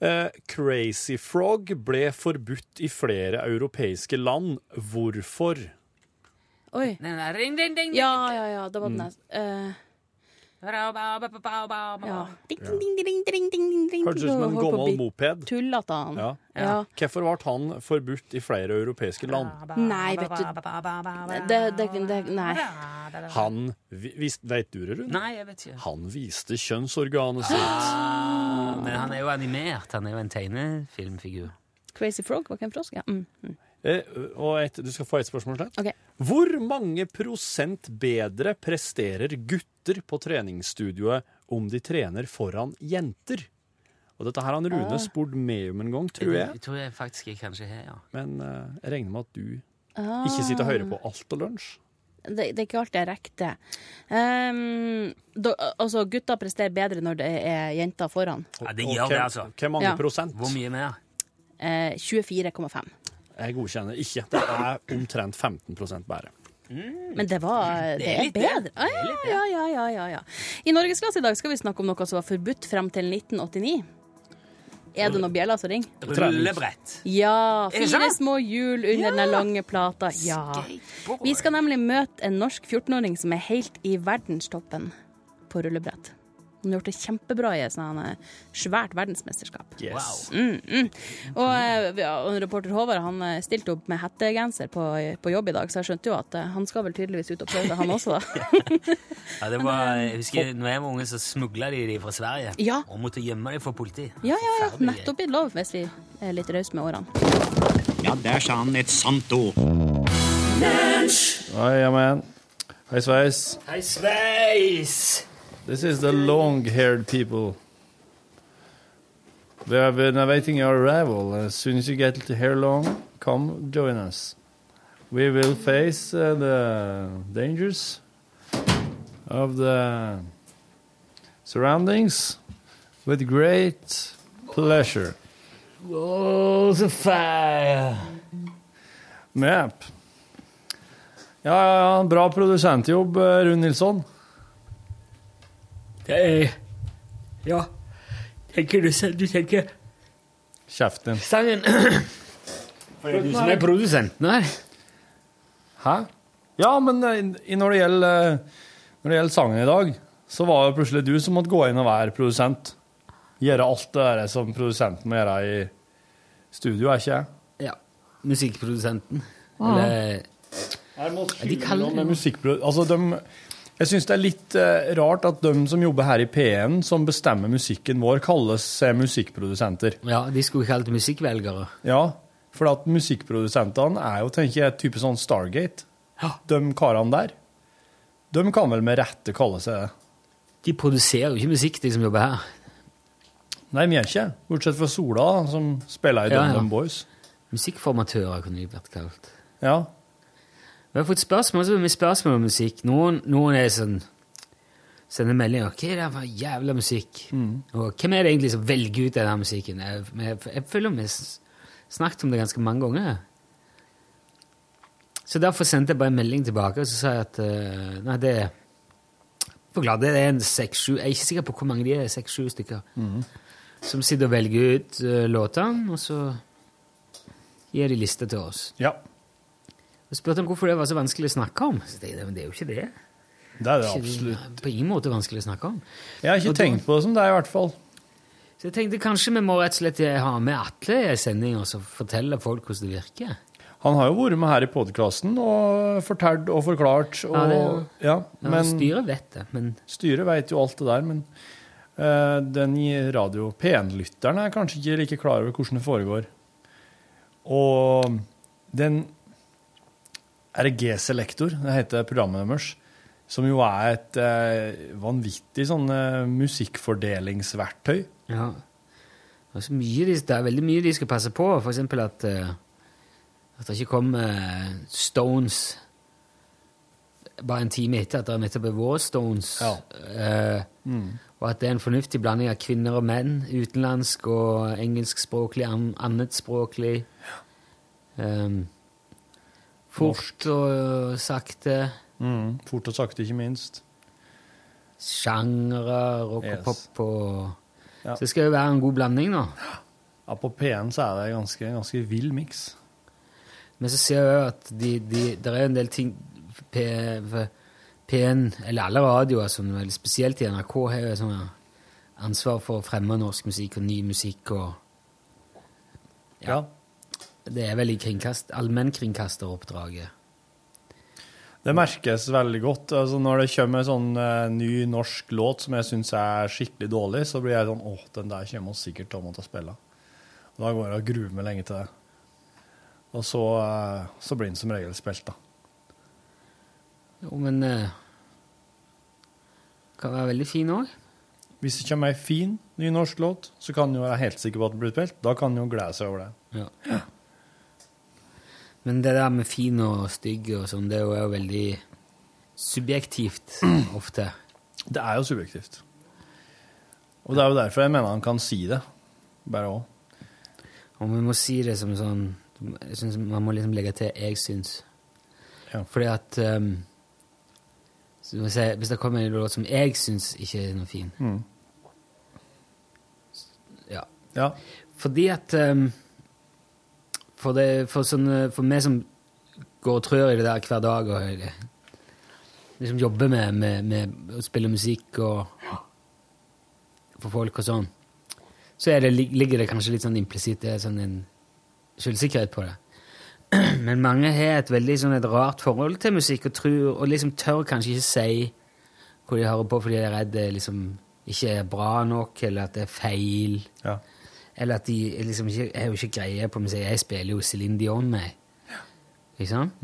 S1: Eh, Crazy Frog ble forbudt i flere europeiske land. Hvorfor?
S7: Oi.
S2: Nei, nei, Ring, ring, ring.
S7: Ja, ja, ja, det var den der. eh,
S2: Ba, ba, ba, ba, ba, ba.
S7: ja. Ding, ding, ding, ding, ding, ding, ding, ding.
S1: Hørtes ut som en
S7: Holdt på å
S1: gammel
S7: bli
S1: moped.
S7: Tullete han.
S1: Ja.
S7: ja.
S1: Hvorfor ble han forbudt i flere europeiske land?
S7: Nei, vet du det, det, det, Nei.
S1: Han vi- vis- Veit du det, Rune?
S2: Nei, jeg vet ikke.
S1: Han viste kjønnsorganet sitt.
S2: Ah, Men han er jo animert. Han er jo en tegnefilmfigur.
S7: Crazy Frog var ikke en frosk? Ja. Mm. mm.
S1: Eh, og et, du skal få et spørsmål til.
S7: Ok.
S1: Hvor mange prosent bedre presterer gutter på treningsstudioet om de trener foran jenter? Og dette her har
S7: Ah.
S1: Rune spurt meg om en gang, tror jeg.
S2: Jeg tror jeg faktisk jeg kanskje har, ja.
S7: Ah.
S1: Men eh, jeg regner med at du ikke sitter og hører på alt og lunsj.
S7: det, det er ikke alltid jeg rekker det. Ehm, da- altså, gutter presterer bedre når det er jenter foran.
S10: Ja, det gjør det, altså.
S1: Hvor mange
S7: Ja.
S1: prosent?
S10: Hvor mye mer?
S7: Eh, 24,5.
S1: Jeg godkjenner ikke. Det er omtrent 15 bare.
S7: Men det var Det er bedre. Ah, ja, ja, ja, ja, ja. I Norgesklasse i dag skal vi snakke om noe som var forbudt frem til 1989. Er det noen bjeller som ringer?
S10: Rullebrett.
S7: Ja.
S10: Er det
S7: Fire
S10: sant?
S7: små hjul under den lange plata. Ja. Vi skal nemlig møte en norsk 14-åring som er helt i verdenstoppen på rullebrett. Han har gjort det kjempebra i et sånt eh, svært verdensmesterskap.
S9: Yes.
S7: Mm, mm. Og eh, vi- ja, og reporter Håvard han eh, stilte opp med hettegenser på, på jobb i dag, så jeg skjønte jo at eh, han skal vel tydeligvis ut og prøve det, han også, da.
S10: Ja, det var, jeg husker når jeg var unge, så smugla de de fra Sverige.
S7: ehm, Ja.
S10: Og måtte gjemme dem for politi.
S7: Ja, ja, ja. Nettopp gitt lov, hvis vi er litt rause med årene.
S11: Ja, der sa han et sant ord.
S9: Hei, jamen. Hei, sveis.
S10: Hei, sveis!
S9: This is the long-haired people. They have been awaiting your arrival. As soon as you get here long, come join us. We will face uh, the dangers of the surroundings with great pleasure. Oh, the fire! Yep. Ja, ja, ja, bra produsentjobb, eh, Rune Nilsson.
S2: Eh, ja. Tenker du, du tenker
S9: Kjeften din.
S2: sangen
S9: det du som er
S2: produsenten her?
S9: Hæ? Ja, men eh, i- når det gjelder, eh, når det gjelder sangen i dag, så var det plutselig du som måtte gå inn og være produsent. Gjøre alt det der som produsenten må gjøre i studio, er ikke jeg?
S2: Ja. Musikkprodusenten.
S9: Ah.
S2: Eller
S9: Ja,
S2: de kaller
S9: Med musikkpro- altså, dem- jeg syns det er litt eh, rart at de som jobber her i P1, som bestemmer musikken vår, kalles eh, musikkprodusenter.
S2: Ja, de skulle kalt musikkvelgere.
S9: Ja, for at musikkprodusentene er jo, tenker jeg, type sånn Stargate. De karene der. De kan vel med rette kalle seg det.
S2: De produserer jo ikke musikk, de som jobber her.
S9: Nei, vi gjør ikke det. Bortsett fra Sola, da, som spiller i
S2: Ja, ja.
S9: DumDum Boys.
S2: Musikkformatører kunne de vært kalt.
S9: Ja.
S2: Vi har fått spørsmål, så har vi spørsmål om musikk. Noen, noen er sånn sender meldinger. Hva er det for jævla musikk? Og hvem er det egentlig som velger ut denne musikken? Jeg, jeg, jeg føler vi s- snakket om det ganske mange ganger. Så derfor sendte jeg bare en melding tilbake, og så sa jeg at eh, nei, det Forklar, det er en seks-sju Jeg er ikke sikker på hvor mange de er, seks-sju stykker, som sitter og velger ut eh, låtene, og så gir de liste til oss.
S9: Ja.
S2: Jeg spurte om hvorfor det var så vanskelig å snakke om. Så tenkte jeg, men det er jo ikke det.
S9: Det er det
S2: Ikke-
S9: absolutt.
S2: På ingen måte vanskelig å snakke om.
S9: Jeg har
S2: Og
S9: ikke
S2: da-
S9: tenkt på det som det, i hvert fall.
S2: Så jeg tenkte kanskje vi må rett og slett ha med Atle i en sending og så fortelle folk hvordan det virker.
S9: Han har jo vært med her i podkasten og fortalt og forklart. Og,
S2: Ja,
S9: ja,
S2: det- Ja,
S9: men
S2: styret vet det, men
S9: Styret vet jo alt det der, men eh, den i radio P1-lytteren er kanskje ikke like klar over hvordan det foregår. Og den RG-selektor, det heter programmet deres, som jo er et eh, vanvittig sånn eh, musikkfordelingsverktøy.
S2: Ja. Det er, så mye de, det er veldig mye de skal passe på. For eksempel at, eh, at det ikke kom eh, Stones bare en time etter at det nettopp er vår Stones. Eh,
S9: Mm.
S2: Og at det er en fornuftig blanding av kvinner og menn. Utenlandsk og engelskspråklig, an, annetspråklig. Um, fort og sakte.
S9: Mm, fort og sakte, ikke minst.
S2: Sjangere, rock og
S9: Yes.
S2: pop og
S9: Ja.
S2: Så det skal jo være en god blanding, da.
S9: Ja, på P1 så er det en ganske, ganske vill miks.
S2: Men så ser jeg jo at de, de, der er en del ting P, P1, eller alle radioer, som er litt spesielt i NRK, har jo sånn ansvar for å fremme norsk musikk og ny musikk og
S9: Ja.
S2: Det er vel i kringkast, allmennkringkasteroppdraget.
S9: Det merkes veldig godt. Altså, når det kommer en sånn eh, ny norsk låt som jeg syns er skikkelig dårlig, så blir jeg sånn åh, den der kommer vi sikkert til å måtte spille. Og da går jeg og gruer meg lenge til det. Og så, eh, så blir den som regel spilt, da.
S2: Jo, men eh, Kan være veldig fin òg.
S9: Hvis det kommer ei fin ny norsk låt, så kan en jo være helt sikker på at den blir spilt. Da kan en jo glede seg over det.
S2: Ja. Men det der med fin og stygg og sånn, det er jo er jo veldig subjektivt ofte.
S9: Det er jo subjektivt. Og det er jo derfor jeg mener han kan si det. Bare òg.
S2: Og vi må si det som sånn jeg synes Man må liksom legge til 'jeg syns'. Fordi at ehm, så må jeg si, Hvis det kommer en låt som jeg syns ikke er noe fin
S9: Mm.
S2: ja.
S9: ja.
S2: Fordi at ehm, for, det, for, sånne, for meg som går og trør i det der hver dag og eh, liksom jobber med, med, med å spille musikk og for folk og sånn, så er det, ligger det kanskje litt sånn implisitt det er sånn en selvsikkerhet på det. Men mange har et veldig sånn et rart forhold til musikk og tror, og liksom tør kanskje ikke si hvor de hører på fordi de er redd det liksom ikke er bra nok, eller at det er feil. Eller at de er liksom ikke, er jo ikke greie på musikk. Jeg spiller jo Céline Dion, meg. Ikke sant?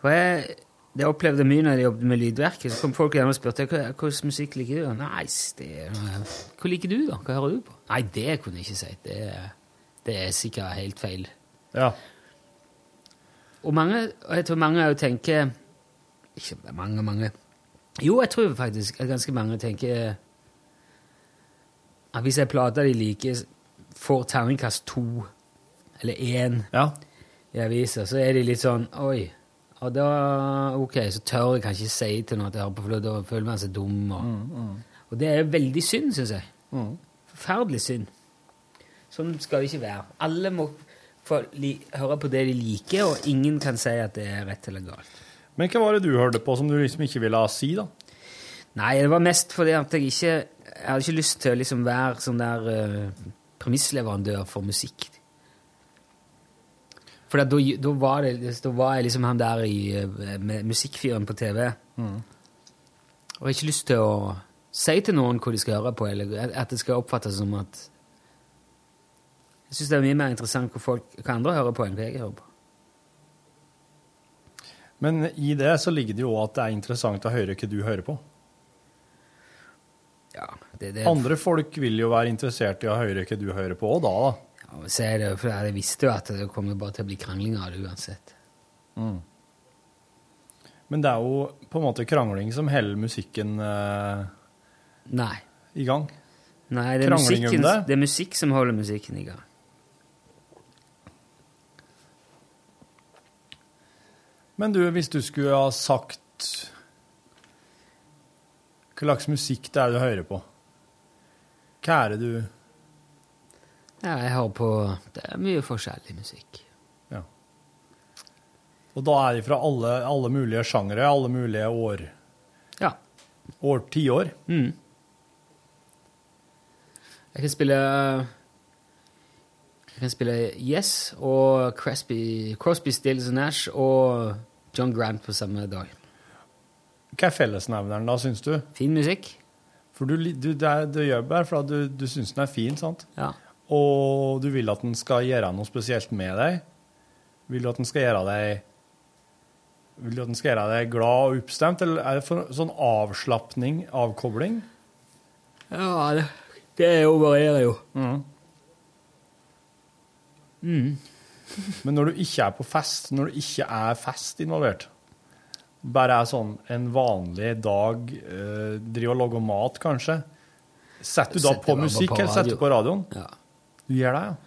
S2: Og jeg, det opplevde jeg mye når jeg jobbet med lydverket. Så kom folk gjerne og spurte hva hva slags musikk liker du. Nei, s- det er noe- Hva liker du, da? Hva hører du på? Nei, det kunne jeg ikke si. Det, er- det er sikkert helt feil.
S9: Ja.
S2: Og mange, og jeg tror mange jo tenker Ikke mange, mange. Jo, jeg tror faktisk at ganske mange tenker at hvis ei plate de liker, får terningkast to eller én i aviser, så er de litt sånn Oi. Og da Ok, så tør jeg kanskje ikke si til noen at jeg hører på, for da føler man seg dum. Og, og det er veldig synd, syns jeg. Forferdelig synd. Sånn skal det ikke være. Alle må få li høre på det de liker, og ingen kan si at det er rett eller galt.
S9: Men hva var det du hørte på som du liksom ikke ville si, da?
S2: Nei, det var mest fordi at jeg ikke Jeg hadde ikke lyst til å liksom være sånn der eh, premissleverandør for musikk. For da, da, var det, da var jeg liksom han der i eh, med musikkfyren på TV. Og jeg har ikke lyst til å si til noen hva de skal høre på, eller at det skal oppfattes som at Jeg syns det er mye mer interessant hva, folk, hva andre hører på, enn hva jeg hører på.
S9: Men i det så ligger det jo også at det er interessant å høre hva du hører på.
S2: Det, det,
S9: Andre folk vil jo være interessert i å høre hva du hører på òg, da. da.
S2: Ja, men så er det, jo- for jeg visste jo at det kom jo bare til å bli krangling av det uansett.
S9: Mm. Men det er jo på en måte krangling som holder musikken eh,
S2: Nei.
S9: i gang.
S2: Nei, det er,
S9: Krangling om
S2: musikken,
S9: det?
S2: det er musikk som holder musikken i gang.
S9: Men du, hvis du skulle ha sagt Hva slags musikk det er du hører på? Hva er det du
S2: Ja, jeg hører på Det er mye forskjellig musikk.
S9: Og da er det fra alle, alle mulige sjangere, alle mulige år.
S2: Ja.
S9: År, tiår.
S2: Mm. Jeg kan spille Jeg kan spille Yes og Crosby, Crosby Stills og Nash og John Grant på samme dag.
S9: Hva er fellesnevneren da, syns du?
S2: Fin musikk.
S9: For du, li- du, det, er- det gjør bare for at du, du syns den er fin, sant?
S2: Ja.
S9: Og du vil at den skal gjøre noe spesielt med deg. Vil du at den skal gjøre deg Vil du at den skal gjøre deg glad og oppstemt, eller er det for, sånn avslapning, avkobling?
S2: Ja, det, det er jo varierer jo. Mm.
S9: Men når du ikke er på fest, når det ikke er fest involvert, bare er sånn en vanlig dag, eh, driver og lager mat kanskje, setter du da
S2: Setter
S9: på
S2: bare
S9: musikk
S2: på
S9: eller setter
S2: radio.
S9: du på radioen?
S2: Ja.
S9: Du gjør det, ja.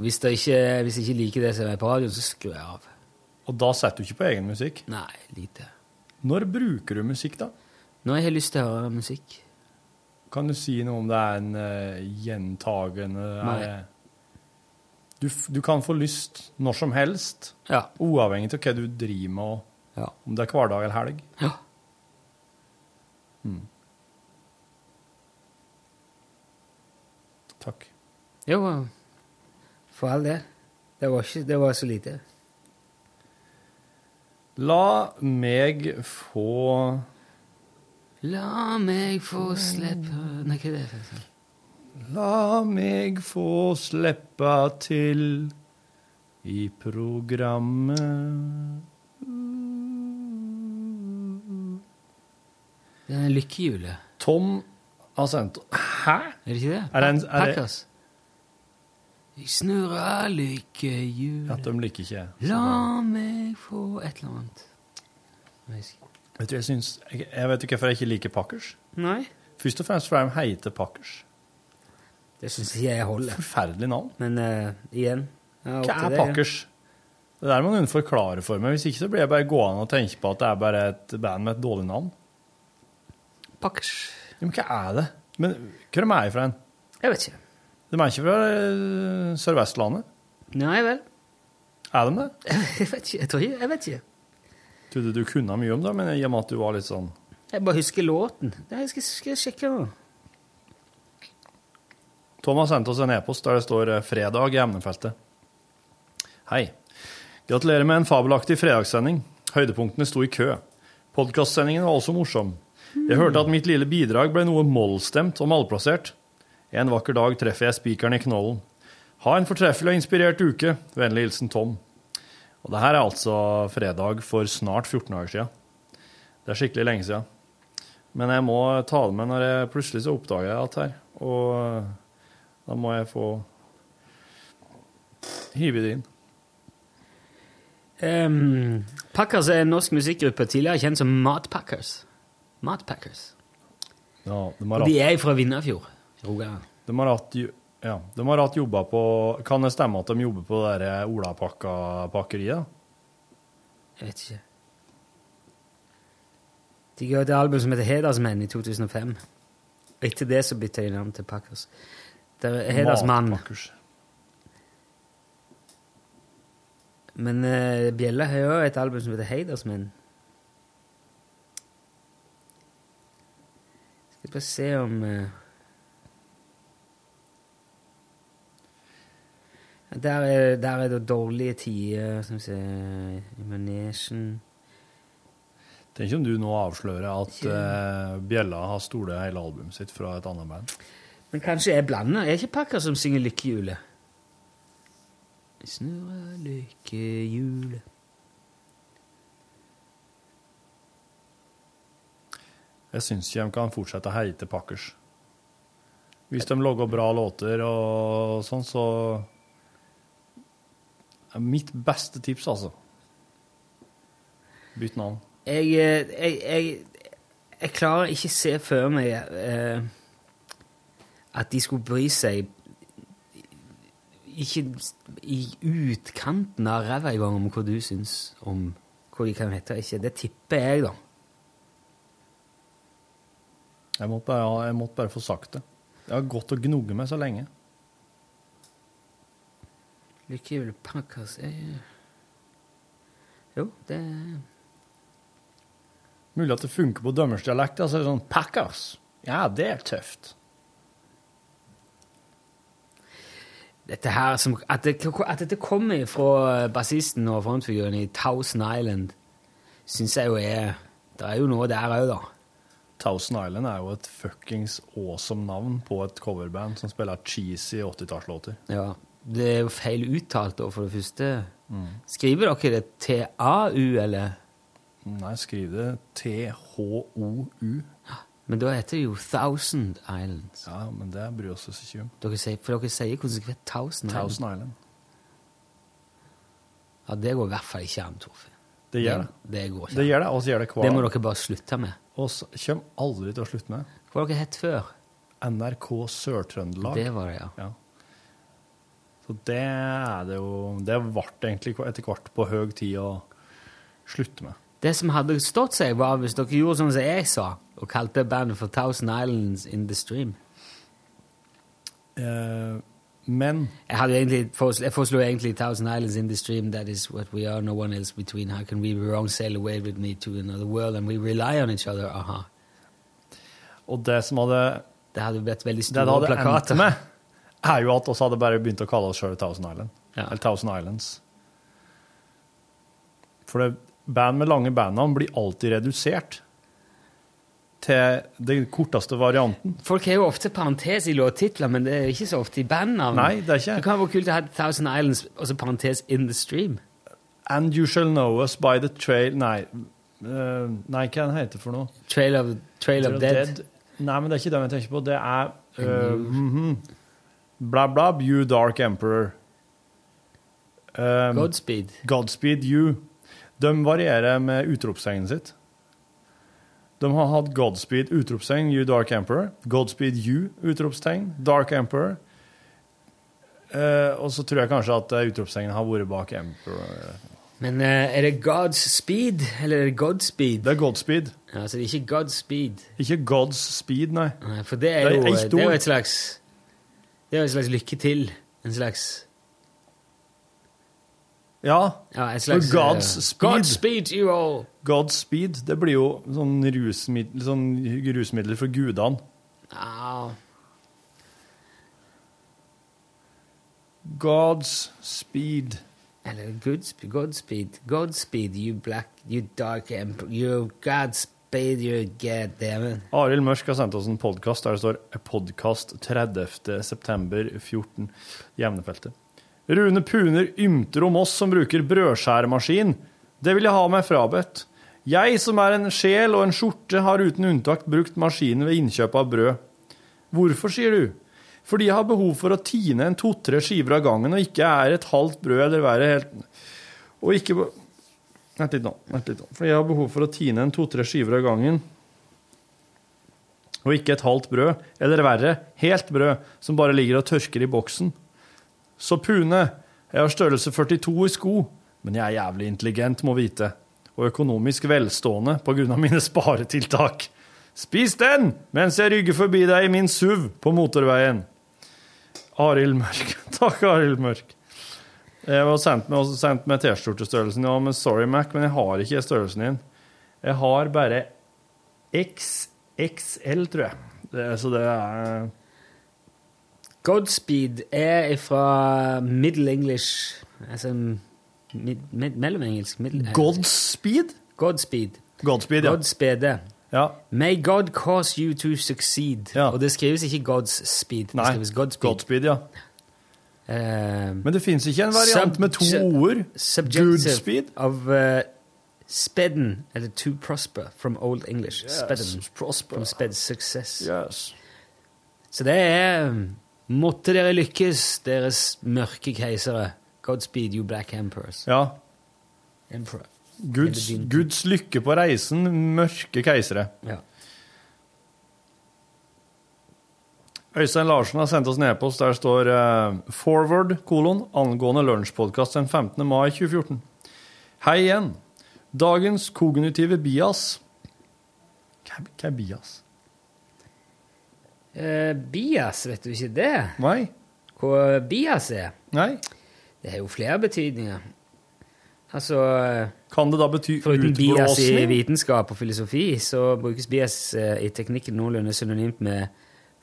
S2: Hvis, det ikke, hvis jeg ikke liker det som er på radioen, så skrur jeg av.
S9: Og da setter du ikke på egen musikk?
S2: Nei, lite.
S9: Når bruker du musikk da?
S2: Når jeg har lyst til å høre musikk.
S9: Kan du si noe om det er en eh, gjentagende...
S2: Nei.
S9: er- Du, f- du kan få lyst når som helst,
S2: Ja.
S9: uavhengig av hva du driver med, og om det er hverdag eller helg.
S2: Ja.
S9: Mm. Takk.
S2: Jo, for all del. Det var, ikke, det var så lite.
S9: La meg få
S2: La meg få slippe Nei, hva er det? for noe?
S9: La meg få slippe til i programmet
S2: Det er lykkehjulet.
S9: Tom har sendt Hæ?
S2: Er det ikke det?
S9: Er det en- er det-
S2: Packers. Jeg snurrer lykkehjulet
S9: At de liker ikke
S2: La meg få et eller annet. Jeg husker ikke.
S9: Vet du, jeg, syns, jeg, jeg vet ikke hvorfor jeg ikke liker Packers.
S2: Nei.
S9: Først og fremst fordi de heter Packers.
S2: Det syns ikke jeg holder.
S9: Forferdelig navn.
S2: Men eh, igjen ja, opp
S9: Hva
S2: til
S9: er
S2: deg, ja.
S9: Packers? Det der må noen forklare for meg. Hvis ikke så blir jeg bare gående og tenke på at det er bare et band med et dårlig navn.
S2: Packers.
S9: Ja, men hva er det? Men hvor er de fra hen?
S2: Jeg vet ikke.
S9: De er ikke fra eh, Sør-Vestlandet?
S2: Nei vel.
S9: Er de det?
S2: Jeg vet ikke. Jeg tror ikke. Jeg vet ikke.
S9: Jeg trodde du kunne mye om det, men i og med at du var litt sånn
S2: Jeg bare husker låten. Nei, Jeg skal, skal jeg sjekke nå.
S9: Tom har sendt oss en e-post der det står eh, 'Fredag' i emnefeltet. Hei. Gratulerer med en fabelaktig fredagssending. Høydepunktene sto i kø. Podkastsendingen var også morsom. Jeg hørte at mitt lille bidrag ble noe mollstemt og malplassert. En vakker dag treffer jeg spikeren i knollen. Ha en fortreffelig og inspirert uke. Vennlig hilsen Tom. Og det her er altså fredag for snart 14 dager siden. Det er skikkelig lenge siden. Men jeg må ta det med når jeg plutselig så oppdager jeg alt her. Og da må jeg få hive det inn.
S2: Ehm, Packers er en norsk musikkgruppe tidligere kjent som Matpackers. Matpackers.
S9: Ja, de
S2: Og
S9: har
S2: de
S9: hatt-
S2: er fra Vindafjord. Rogaland.
S9: de har hatt jo- ja, de har hatt jobba på Kan det stemme at de jobber på det der Olapakka-pakkeriet?
S2: Jeg vet ikke. De ga et album som heter Hedersmenn i 2005. Og etter det så bytta de navn til Packers. Det er Hedersmann. Men eh, Bjella har jo et album som heter Hedersmenn. Skal bare se om eh, Der er, der er det dårlige tider, som vi ser i manesjen.
S9: Tenk om du nå avslører at eh, Bjella har stolet hele albumet sitt fra et annet band.
S2: Men kanskje jeg blander? Er ikke Packer som synger 'Lykkehjulet'? Snurre lykkehjulet
S9: Jeg syns ikke de kan fortsette å heite Packers. Hvis de lager bra låter og sånn, så er Mitt beste tips, altså. Bytt navn.
S2: jeg, eh, jeg, jeg, jeg klarer ikke se for meg eh, at de skulle bry seg ikke i utkanten av ræva engang om hva du syns om hva de kan hete og ikke. Det tipper jeg, da.
S9: Jeg måtte bare, jeg måtte bare få sagt det. Jeg har gått og gnogget meg så lenge.
S2: Lykkehjulet Packers er Jo, det
S9: Mulig at det funker på dømmersdialekt. Altså er det sånn Packers! Ja, det er tøft.
S2: dette her som, at, det, at dette kommer fra bassisten og frontfiguren i Thousand Island, syns jeg jo er Det er jo noe der òg, da.
S9: Thousand Island er jo et fuckings awesome navn på et coverband som spiller cheesy 80-tallslåter.
S2: Ja, Det er jo feil uttalt, da, for det første.
S9: Mm.
S2: Skriver dere det TAU, eller?
S9: Nei, skriv det THOU.
S2: Men da heter det jo Thousand Islands.
S9: Ja, men det bryr oss oss ikke om.
S2: Dere sier, for dere sier konsekvent Thousand Island.
S9: Thousand Island.
S2: Ja, det går i hvert fall ikke an, Torfinn.
S9: Det gjør det.
S2: Det går ikke
S9: Det
S2: an.
S9: gjør det, og så gjør det hver
S2: Det må dere bare slutte med.
S9: Og så kommer aldri til å slutte med.
S2: Hva har dere hett før?
S9: NRK Sør-Trøndelag.
S2: Det var det, ja.
S9: Så det er det jo Det ble egentlig etter hvert på høy tid å slutte med.
S2: Det som hadde stått seg, var hvis dere gjorde sånn som jeg sa, og kalte bandet for Thousand Islands in the Stream. Eh,
S9: men
S2: Jeg, hadde jo egentlig, foreslo- jeg foreslo egentlig Thousand Islands in the Stream, that is what we are, no one else between. How can we be wrong, sail away with me to another world, and we rely on each other, aha.
S9: Og det som hadde
S2: Det hadde blitt veldig
S9: Det det
S2: store
S9: hadde endt
S2: plakater.
S9: med, er jo at oss hadde bare begynt å kalle oss sjøl Thousand Island.
S2: Ja.
S9: Eller Thousand Islands. For det, band med lange bandnavn blir alltid redusert til den korteste varianten.
S2: Folk har jo ofte parentes i låttitler, men det er ikke så ofte i bandnavn.
S9: Nei, det er ikke.
S2: Det kan være kult å ha Thousand Islands, og så parentes in the stream.
S9: And you shall know us by the trail Nei, eh, nei hva den heter for noe?
S2: Trail of, trail of Dead.
S9: Nei, men det er ikke den jeg tenker på. Det er eh,
S2: And
S9: mhm. Bla, bla, you dark emperor. Um,
S2: Um, Godspeed.
S9: Godspeed you. De varierer med utropstegnet sitt. De har hatt Godspeed, utropstegn, You Dark Emperor. Godspeed You, utropstegn, Dark Emperor. Eh, og så tror jeg kanskje at eh, utropstegnet har vært bak Emperor.
S2: Men eh, er det God's Speed, eller er det Godspeed?
S9: Det er Godspeed.
S2: Ja, så det er ikke God's Speed.
S9: Ikke God's Speed, nei.
S2: Nei, for det er,
S9: Det er
S2: jo,
S9: ett
S2: det er jo
S9: ord.
S2: et slags Det er jo et slags lykke til. En slags
S9: Ja.
S2: Ja, et
S9: For
S2: slags
S9: God's
S2: eh,
S9: Speed.
S2: God's Speed, you all!
S9: God's Speed, det blir jo sånn rusmiddel, sånn rusmiddel for gudene.
S2: Au.
S9: God's Speed.
S2: Eller Godspeed, Godspeed, Godspeed, you black, you dark emperor, you Godspeed, you goddammit.
S9: Arild Mørsk har sendt oss en podkast der det står 'Podkast 30.9.14'. Jevnefeltet. Rune Puner ymter om oss som bruker brødskjæremaskin. Det vil jeg ha meg frabedt. Jeg som er en sjel og en skjorte, har uten unntak brukt maskinen ved innkjøp av brød. Hvorfor, sier du? Fordi jeg har behov for å tine en to-tre skiver av gangen, og ikke er et halvt brød eller være helt Og ikke Vent litt nå. Vent litt nå. Fordi jeg har behov for å tine en to-tre skiver av gangen og ikke et halvt brød, eller verre, helt brød, som bare ligger og tørker i boksen. Så Pune, jeg har størrelse 42 i sko, men jeg er jævlig intelligent, må vite, og økonomisk velstående på grunn av mine sparetiltak. Spis den, mens jeg rygger forbi deg i min SUV på motorveien. Arild Mørk. Takk, Arild Mørk. Jeg var sendt med, også sendt med T-skjortestørrelsen. Ja, men sorry, Mac, men jeg har ikke størrelsen din. Jeg har bare XXL, tror jeg. Det, så det er eh,
S2: Godspeed er fra Middle English Altså mid, mid, mellomengelsk middel-
S9: Godspeed?
S2: Godspeed.
S9: Godspeed,
S2: ja. Godspede.
S12: May God cause you to succeed.
S2: Og det skrives ikke God's Speed. Det
S9: Nei,
S2: skrives Godspeed.
S9: Godspeed, ja.
S2: Eh,
S9: Men det fins ikke en variant med to ord.
S2: Subjective of uh, spedden, eller to prosper, from old English.
S9: Yes,
S2: spedden, from sped success.
S9: Yes.
S2: Så det er um, Måtte dere lykkes, deres mørke keisere. Godspeed, you black emperors.
S9: Ja.
S2: Emperor.
S9: Guds, Guds lykke på reisen, mørke keisere. Øystein Larsen har sendt oss en e-post der står eh, 'Forward, kolon, angående lunsjpodkast den 15. mai 2014'. Hei igjen. Dagens kognitive bias Hva hva er bias?
S2: Eh, bias, vet du ikke det?
S9: Nei.
S2: Hva bias er?
S9: Nei.
S2: Det har jo flere betydninger. Altså
S9: Kan det da bety
S2: Foruten bias i
S9: utblåsning?
S2: vitenskap og filosofi, så brukes bias eh, i teknikken noenlunde synonymt med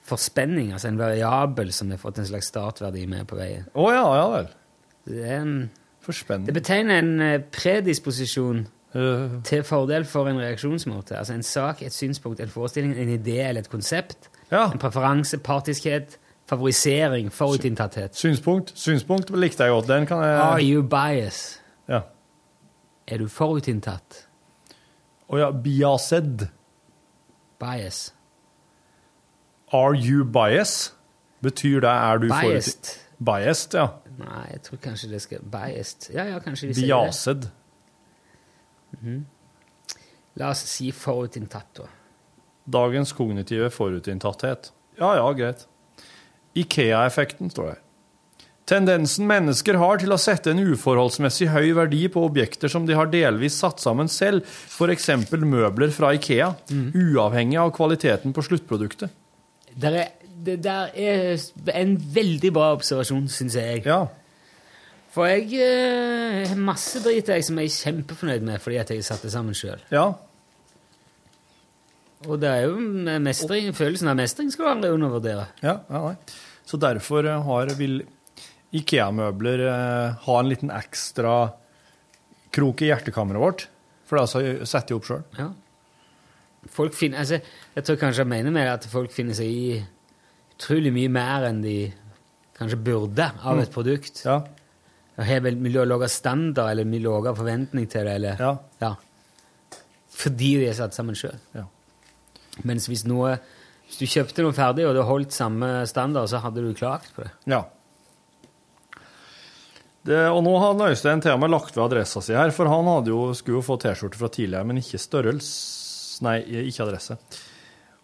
S2: forspenning, altså en variabel som har fått en slags startverdi med på veien.
S9: Å ja, ja vel.
S2: Det, er en,
S9: Forspenning.
S2: det betegner en eh, predisposisjon
S9: Eh,
S2: til fordel for en reaksjonsmåte. Altså en sak, et synspunkt, en forestilling, en idé eller et konsept.
S9: Ah.
S2: En preferanse, partiskhet, favorisering, forutinntatthet.
S9: Synspunkt. Synspunkt likte jeg godt. Den kan jeg
S2: Are you biased?
S9: Ja.
S2: Er du forutinntatt?
S9: Å ja, biased.
S2: Bias.
S9: Are you bias? Betyr det er du forut-
S2: Biased.
S9: Biased, ja.
S2: Nei, jeg tror kanskje det skal Biased. Ja, ja, kanskje de sier det.
S9: Biased.
S2: Mhm. La oss si forutinntatt, da.
S9: Dagens kognitive forutinntatthet. Ja, ja, greit. Ikea-effekten, står det her. Tendensen mennesker har til å sette en uforholdsmessig høy verdi på objekter som de har delvis satt sammen selv, f.eks. møbler fra Ikea, uavhengig av kvaliteten på sluttproduktet.
S2: Der er, det der er en veldig bra observasjon, syns jeg. For jeg eh, har masse drit jeg som jeg er kjempefornøyd med fordi at jeg satte sammen sjøl. Og det er jo mestring, følelsen av mestring skal du aldri undervurdere.
S9: Ja, ja, nei. Så derfor eh, har, vil IKEA-møbler eh, ha en liten ekstra krok i hjertekammeret vårt. For det altså setter jeg opp sjøl.
S2: Ja. Folk finner, altså, jeg tror kanskje jeg mener med det at folk finner seg i utrolig mye mer enn de kanskje burde av et
S9: Mm.
S2: produkt.
S9: Ja.
S2: Og har vel mye lavere standard eller mye lavere forventning til det. Eller,
S9: ja.
S2: Fordi de er satt sammen sjøl.
S9: Ja.
S2: Mens hvis, noe, hvis du kjøpte noe ferdig, og det holdt samme standard, så hadde du klaget på det.
S9: Ja. Det, og nå har Øystein til og med lagt ved adressa si her, for han hadde jo, skulle jo få T-skjorte fra tidligere, men ikke størrelse Nei, ikke adresse.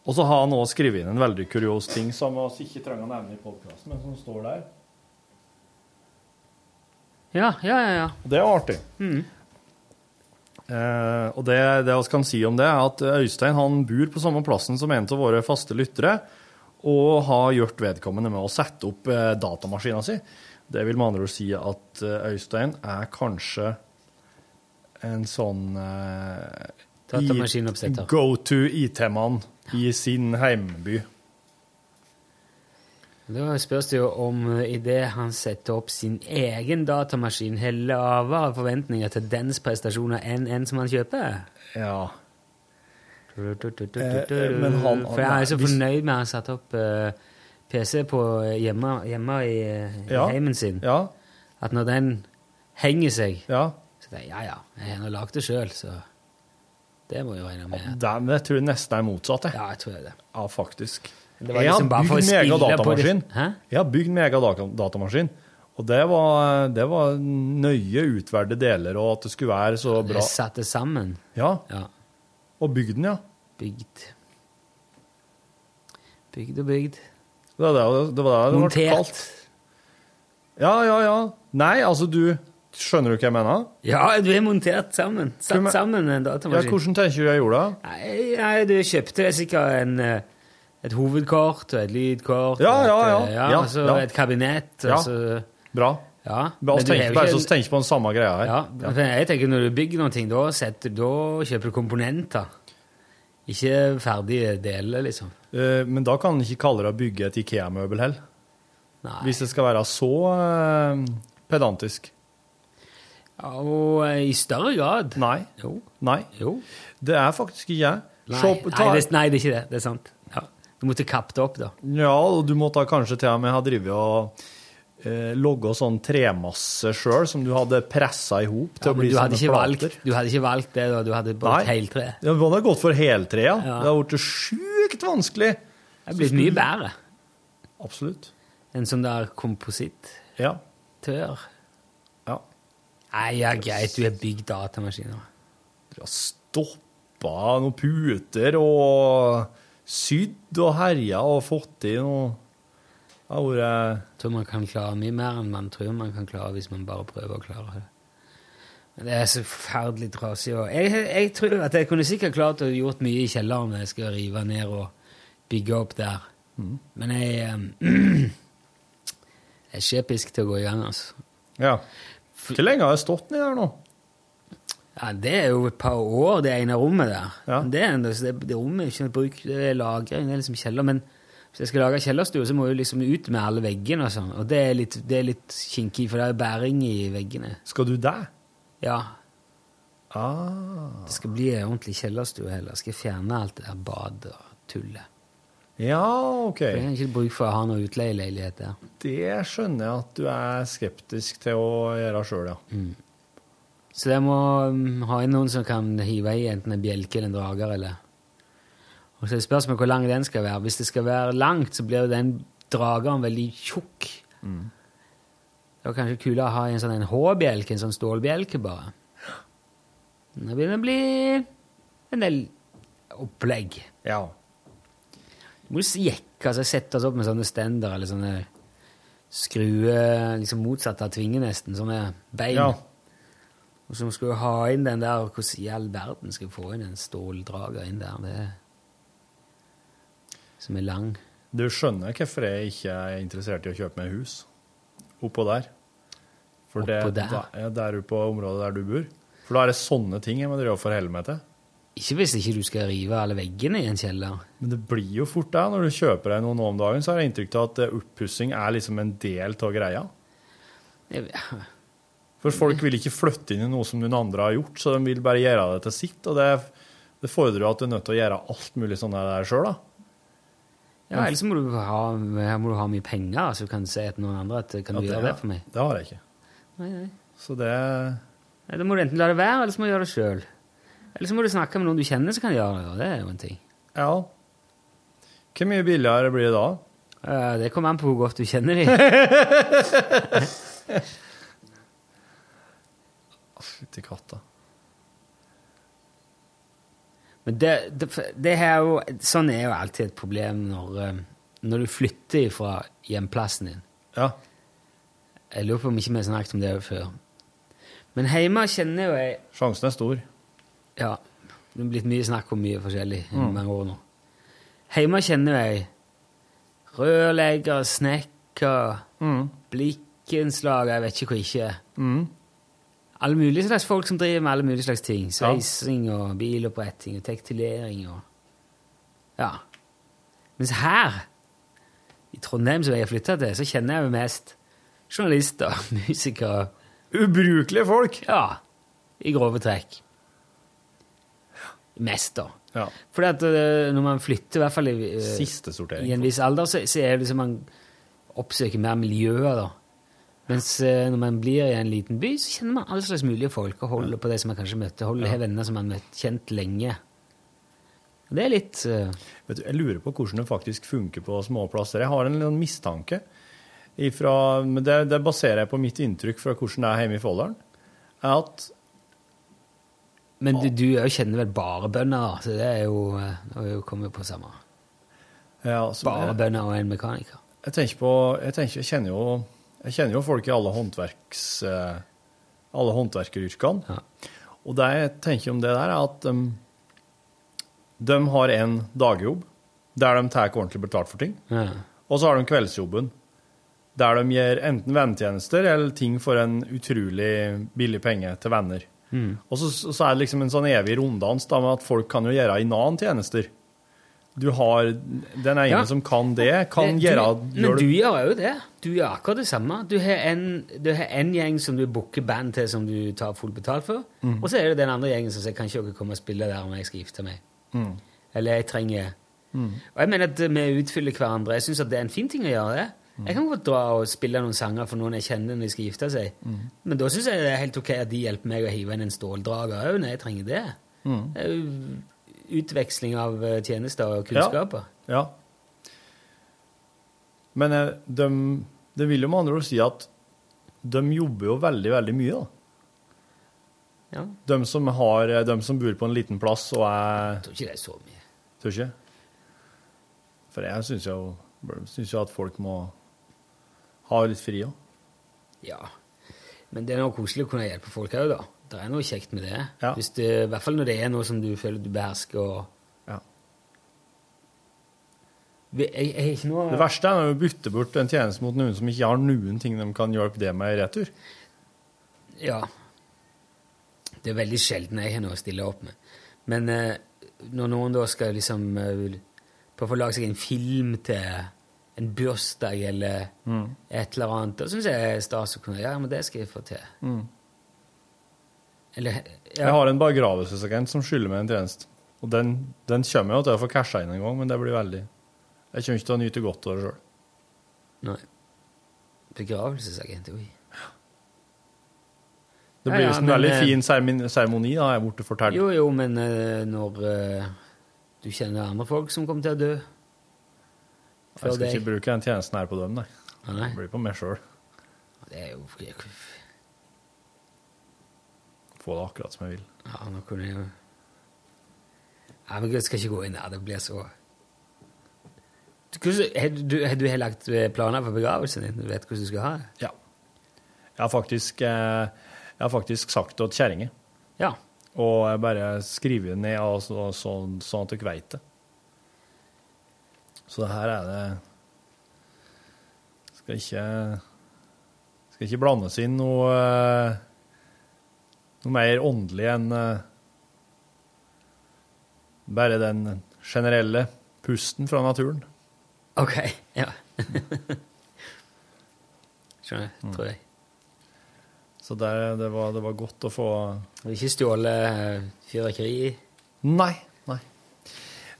S9: Og så har han også skrevet inn en veldig kurios ting som vi ikke trenger å nevne i podkasten, men som står der.
S2: Ja, ja, ja. ja.
S9: Og det er artig. Eh, og det, det vi kan si om det, er at Øystein han bor på samme plassen som en av våre faste lyttere, og har gjort vedkommende med å sette opp eh, datamaskina si. Det vil med andre ord si at eh, Øystein er kanskje en sånn eh,
S2: Datamaskinoppsetter.
S9: Go to IT-mann i sin heimby.
S2: Da spørs det jo om idet han setter opp sin egen datamaskin, har lavere forventninger til dens prestasjoner enn en som han kjøper.
S9: Ja.
S2: Men han, For jeg er så fornøyd med at han satte opp eh, PC på hjemme, hjemme i, eh, i
S9: Ja.
S2: heimen sin. At når den henger seg, så tenker jeg ja ja, jeg har nå lagd det sjøl, så det må jeg jo regne med.
S9: Det, men jeg tror nesten er motsatt. Jeg.
S2: Ja, jeg tror det.
S9: Ja, faktisk.
S2: Det var
S9: jeg har
S2: liksom bare for å
S9: bygd mega
S2: spille på det-
S9: datamaskin. Jeg har bygd mega data- datamaskin. Og det var, det var nøye utvalgte deler, og at det skulle være så
S2: Det er
S9: bra.
S2: satt det sammen.
S9: Ja. Og bygd den, ja.
S2: Bygd. Bygd og bygd.
S9: Det var det det, var det, det ble
S2: Montert.
S9: kalt. Ja, ja, ja. Nei, altså, du Skjønner du hva jeg mener?
S2: Ja, du er montert sammen.
S9: Hvem er-
S2: Satt sammen en
S9: Ja,
S2: datamaskin.
S9: hvordan tenker du jeg gjorde det?
S2: Nei, nei, du kjøpte sikkert en, eh, et hovedkort og et lydkort.
S9: Ja,
S2: og et,
S9: ja, ja.
S2: eh, ja,
S9: Ja,
S2: og så
S9: ja.
S2: et kabinett. og
S9: Ja.
S2: så-
S9: Bra.
S2: Ja.
S9: Bare
S2: men
S9: oss
S2: du har
S9: tenker
S2: jo
S9: bare
S2: ikke-
S9: så tenker på den samme greia her.
S2: Ja, men jeg tenker når du bygger noen ting, da, setter, da kjøper du komponenter. Ikke ferdige deler, liksom.
S9: Eh, Men da kan en ikke kalle det å bygge et IKEA-møbel heller. Hvis det skal være så eh, pedantisk.
S2: Og eh, i større grad.
S9: Nei.
S2: Jo.
S9: Nei. Det er faktisk ikke jeg.
S2: Nei,
S9: Se på- ta-
S2: nei, det, nei, det er ikke det. Det er sant. Ja. Du måtte kappe det opp, da.
S9: Ja, og du måtte kanskje til og med ha drevet og eh, logge sånn tremasse sjøl, som du hadde pressa i hop til
S2: Ja,
S9: å
S2: men
S9: bli
S2: du, hadde
S9: sånne
S2: ikke valgt,
S9: plater.
S2: du hadde ikke valgt det, da. Du hadde
S9: Nei.
S2: brukt heltre.
S9: Ja, det hadde gått for heltre, ja. Det hadde blitt sjukt vanskelig.
S2: Det er blitt
S9: sånn-
S2: mye bedre.
S9: Absolutt.
S2: En sånn der kompositt.
S9: Ja.
S2: Tør.
S9: Ja.
S2: Nei, ja, greit, du har bygd datamaskiner.
S9: Ja, Stoppa noen puter og sydd og herja og fått i noe Det har vært
S2: Jeg tror man kan klare mye mer enn man tror man kan klare hvis man bare prøver å klare det. Men det er så forferdelig trasig. Og jeg, jeg tror at jeg kunne sikkert klart å gjort mye i kjelleren når jeg skal rive ned og bygge opp der. Men jeg eh, jeg er skjepisk til å gå i gang, altså.
S9: Ja. Hvor lenge har jeg stått nedi der nå?
S2: Ja, Det er jo et par år, det ene rommet der. Det, er, en- så det, det rommet er ikke noe bruk, det er lagring, det er liksom kjeller. Men hvis jeg skal lage kjellerstue, så må jeg jo liksom ut med alle veggene og sånn. Og det er litt, det er litt kinkig, for det er jo bæring i veggene.
S9: Skal du der?
S2: Ja.
S9: Ah.
S2: Det skal bli en ordentlig kjellerstue heller. Skal jeg fjerne alt det der badet og tullet.
S9: Ja, OK.
S2: For Jeg har ikke bruk for å ha noe utleieleilighet der.
S9: Det skjønner jeg at du er skeptisk til å gjøre sjøl, ja.
S2: Så jeg må mm, ha inn noen som kan hive i enten en bjelke eller en drager. eller... Og så er det spørsmålet hvor lang den skal være. Hvis det skal være langt, så blir jo den drageren veldig tjukk. Det var kanskje kulere å ha en sånn en H-bjelke, en sånn stålbjelke bare. Da begynner det å bli en del opplegg.
S9: Ja.
S2: Du må jekke, altså sette oss opp med sånne stender eller sånne skrue, liksom motsatt av tvinge nesten, sånne bein.
S9: Ja.
S2: Og så skal du ha inn den der, hvordan i all verden skal du få inn en ståldrager inn der, det som er lang.
S9: Du skjønner hvorfor jeg ikke er interessert i å kjøpe meg hus oppå der. For det,
S2: Oppå der?
S9: da- ja, der ute på området der du bor. For da er det sånne ting jeg må drive og forholde meg til.
S2: Ikke hvis ikke du skal rive alle veggene i en kjeller.
S9: Men det blir jo fort det. Når du kjøper deg noe nå om dagen, så har jeg inntrykk av at eh, oppussing er liksom en del av greia.
S2: Jeg-
S9: For folk vil ikke flytte inn i noe som noen andre har gjort, så de vil bare gjøre det til sitt. Og det, det fordrer jo at du er nødt til å gjøre alt mulig sånn der sjøl, da.
S2: Ja, ellers må du ha, her må du ha mye penger, så du kan si til noen andre at kan du
S9: Ja,
S2: gjøre det for meg.
S9: Det har jeg ikke.
S2: Nei, nei.
S9: Så det
S2: Nei, Da må du enten la det være, eller så må du gjøre det sjøl. Eller så må du snakke med noen du kjenner som kan gjøre det, og det er jo en ting.
S9: Ja. Hvor mye billigere blir det da?
S2: Eh, Det kommer an på hvor godt du kjenner dem.
S9: Fytti katta.
S2: Men det, det, det her, er jo- sånn er jo alltid et problem når, eh, når du flytter fra hjemplassen din.
S9: Ja.
S2: Jeg lurer på om ikke vi har snakket om det før. Men hjemme kjenner jo jeg
S9: Sjansen er stor.
S2: Ja. Det er blitt mye snakk om mye forskjellig i
S9: Mm.
S2: mange år nå. Hjemme kjenner jeg rørlegger, snekker,
S9: Mm.
S2: blikkenslag, jeg vet ikke hva ikke er.
S9: Mm.
S2: Alle mulige slags folk som driver med alle mulige slags ting.
S9: Ja.
S2: Sveising og biloppretting og tektilering og Ja. Mens her, i Trondheim, som jeg har flytta til, så kjenner jeg jo mest journalister, musikere
S9: Ubrukelige folk!
S2: Ja. I grove trekk. Mest, da.
S9: Ja.
S2: Fordi at eh, når man flytter, i hvert fall i, eh,
S9: Siste sortering.
S2: i en viss alder, så, så er det liksom man oppsøker mer miljøer, da. Mens eh, når man blir i en liten by, så kjenner man alle slags mulige folk og holder på det som man kanskje møtte, holder har venner som man har møtt- kjent lenge. Det er litt eh,
S9: Vet du, Jeg lurer på hvordan det faktisk funker på småplasser. Jeg har en liten mistanke. Ifra, men det, det baserer jeg på mitt inntrykk fra hvordan det er hjemme i Folldalen. er At
S2: Men du, du er jo- kjenner vel bare bønder, da, så det er jo, eh, det er jo kommer jo på samme.
S9: ja, som
S2: Bare
S9: jeg-
S2: bønder og en mekaniker.
S9: Jeg tenker på Jeg, tenker, jeg, kjenner, jo, jeg kjenner jo folk i alle håndverks... eh, Alle håndverkeryrkene. Og det jeg tenker om det der, er at em, de har en dagjobb der de tar ordentlig betalt for ting.
S2: Ja.
S9: Og så har de kveldsjobben der de gjør enten vennetjenester eller ting for en utrolig billig penge til venner.
S2: Mm.
S9: Og så, så er det liksom en sånn evig runddans da, med at folk kan jo gjøre innan tjenester. Du har den ene
S2: Ja.
S9: som kan det, kan
S2: Det- du,
S9: gjøre gjør
S2: Men du
S9: det-
S2: gjør jo det. Du gjør akkurat det samme. Du har en, du har en gjeng som du booker band til som du tar fullt betalt for,
S9: Mhm.
S2: og så er det den andre gjengen som sier kan ikke dere komme og spille der om jeg skal gifte meg.
S9: Mm.
S2: Eller jeg trenger
S9: Mm.
S2: Og jeg mener at vi utfyller hverandre. Jeg syns det er en fin ting å gjøre det.
S9: Mm.
S2: Jeg kan godt dra og spille noen sanger for noen jeg kjenner når de skal gifte seg.
S9: Mm.
S2: Men da syns jeg det er helt ok at de hjelper meg å hive inn en ståldrager òg når jeg trenger det.
S9: Mm.
S2: Det er jo Utveksling av eh, tjenester og
S9: Ja.
S2: kunnskaper.
S9: Ja. Men eh, de, det vil jo med andre ord si at de jobber jo veldig, veldig mye, da.
S2: Ja.
S9: De som, har, eh, de som bor på en liten plass og er
S2: Jeg tror ikke det er så mye.
S9: Tror ikke? For jeg syns jo, synes jo at folk må ha litt fri òg.
S2: Ja. Men det er noe koselig å kunne hjelpe folk òg, da. Det er noe kjekt med det. Hvis det. I hvert fall når det er noe som du føler du behersker og
S9: Ja.
S2: Vi- Jeg, jeg har ikke noe
S9: Det verste er når du bytter bort en tjeneste mot noen som ikke har noen ting de kan hjelpe det med i retur.
S2: Ja. Det er veldig sjelden jeg har noe å stille opp med. Men eh, når noen da skal liksom eh, prøve å lage seg en film til en bursdag eller
S9: Mm.
S2: et eller annet, da syns jeg det er stas å kunne Ja, men det skal jeg få til.
S9: Mm.
S2: Eller ja.
S9: Jeg har en begravelsesagent som skylder meg en tjeneste. Og den, den kommer jeg jo til å få casha inn en gang, men det blir veldig Jeg kommer ikke til å nyte godt av det sjøl.
S2: Nei. Begravelsesagent, oi.
S9: Det
S2: Ja,
S9: blir
S2: ja,
S9: jo en
S2: men,
S9: veldig
S2: eh,
S9: fin seremoni- seremoni, da, har jeg borte fortalt.
S2: Jo, jo, men eh, når eh, du kjenner andre folk som kommer til å dø
S9: Jeg skal
S2: deg.
S9: ikke bruke den tjenesten her på dem, nei.
S2: nei.
S9: Det blir på meg sjøl.
S2: Det er jo det er jo-
S9: Få det akkurat som jeg vil.
S2: Ja, nå kunne jeg jo Nei, men jeg skal ikke gå inn der. Det blir så Du- hvordan- Har du, har du har lagt eh, planer for begravelsen din? Du vet hvordan du skal ha det?
S9: Ja. Jeg har faktisk, eh, jeg har faktisk sagt det til kjerringa.
S2: Ja.
S9: Og jeg bare skriver det ned, og så, så, sånn at dere veit det. Så her er det Skal ikke Skal ikke blandes inn noe eh, Noe mer åndelig enn eh, bare den generelle pusten fra naturen.
S2: OK. Ja. Skjønner.
S9: Mm.
S2: Tror jeg.
S9: Så der, det, var, det var godt å få
S2: Har du ikke stjålet eh, fyrverkeri?
S9: Nei. Nei,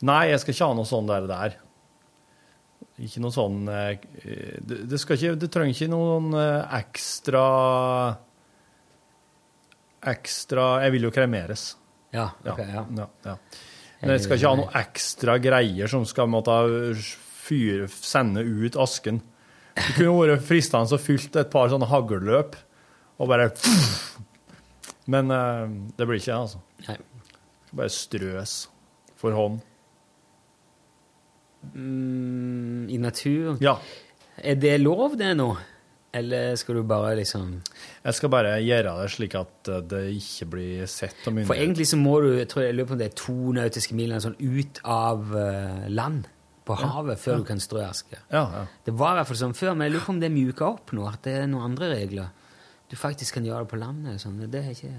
S9: nei jeg skal ikke ha noe sånn der. der. Ikke noe sånn eh, Det, det, skal ikke, det trenger ikke noen eh, ekstra Ekstra Jeg vil jo kremeres.
S2: Ja, ok, ja.
S9: ja, ja. Men jeg skal ikke ha noe ekstra greier som skal måtte fyre, sende ut asken. Det kunne vært fristende å fylle et par sånne hagleløp og bare Men eh, det blir ikke det, altså.
S2: Nei.
S9: Skal bare strøs. For hånd.
S2: Mm, I naturen?
S9: Ja.
S2: Er det lov, det nå? Eller skal du bare liksom
S9: Jeg skal bare gjøre det slik at eh, det ikke blir sett av
S2: For
S9: myndighetene.
S2: egentlig så må du jeg tror jeg lurer på om det er to nautiske mil eller noe sånt, ut av eh, land, på
S9: Ja.
S2: havet, før
S9: Ja.
S2: du kan strø aske.
S9: Ja, ja.
S2: Det var i hvert fall sånn før, men jeg lurer på om det er mjuka opp nå, at det er noen andre regler. Du faktisk kan gjøre det på landet. og Sånn. Det er ikke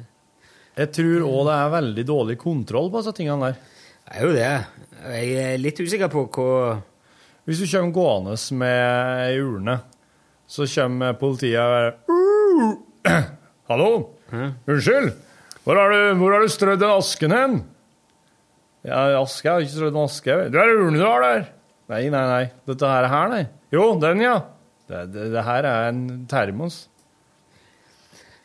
S9: Jeg tror òg det er veldig dårlig kontroll på disse tingene der.
S2: Det er jo det. Jeg er litt usikker på hva
S9: Hvis du kommer gående med ei urne, så kommer politiet og bare «Uh! Hallo! Unnskyld! Hvor har, du, hvor har du strødd den asken hen? Ja, aske? Jeg har ikke strødd noen aske. Du er urne du har der! Nei, nei, nei. Dette her er her, nei. Jo, den, ja. Det, det, det her er en termos.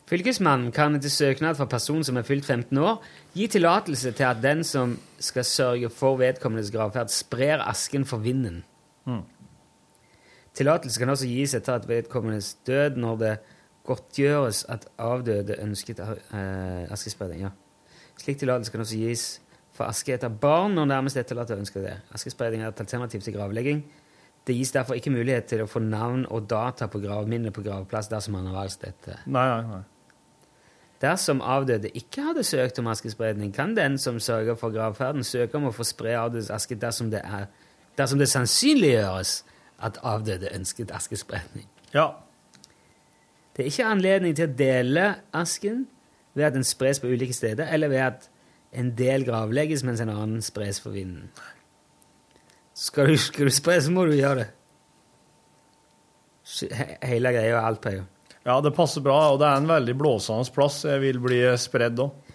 S2: Fylkesmannen kan etter søknad fra person som er fylt 15 år, gi tillatelse til at den som skal sørge for vedkommendes gravferd, sprer asken for vinden.
S9: Mm.
S2: Tillatelse kan også gis etter at vedkommendes død når det godtgjøres at avdøde ønsket eh, askespredning. Ja. Slik tillatelse kan også gis for aske etter barn når nærmest etterlatte ønsker det. Askespredning er et alternativ til gravlegging. Det gis derfor ikke mulighet til å få navn og data på gravminnet på gravplass dersom man har valgt dette.
S9: Nei, nei, nei.
S2: Dersom avdøde ikke hadde søkt om askespredning, kan den som sørger for gravferden, søke om å få spre avdødes aske dersom det, er, dersom det sannsynliggjøres at avdøde ønsket askespredning.
S9: Ja.
S2: Det er ikke anledning til å dele asken ved at den spres på ulike steder, eller ved at en del gravlegges mens en annen spres for vinden. Skal du, skal du spre, så må du gjøre det. He- Hele greia og alt pleier.
S9: Ja, det passer bra, og det er en veldig blåsende plass. Jeg vil bli spredd òg.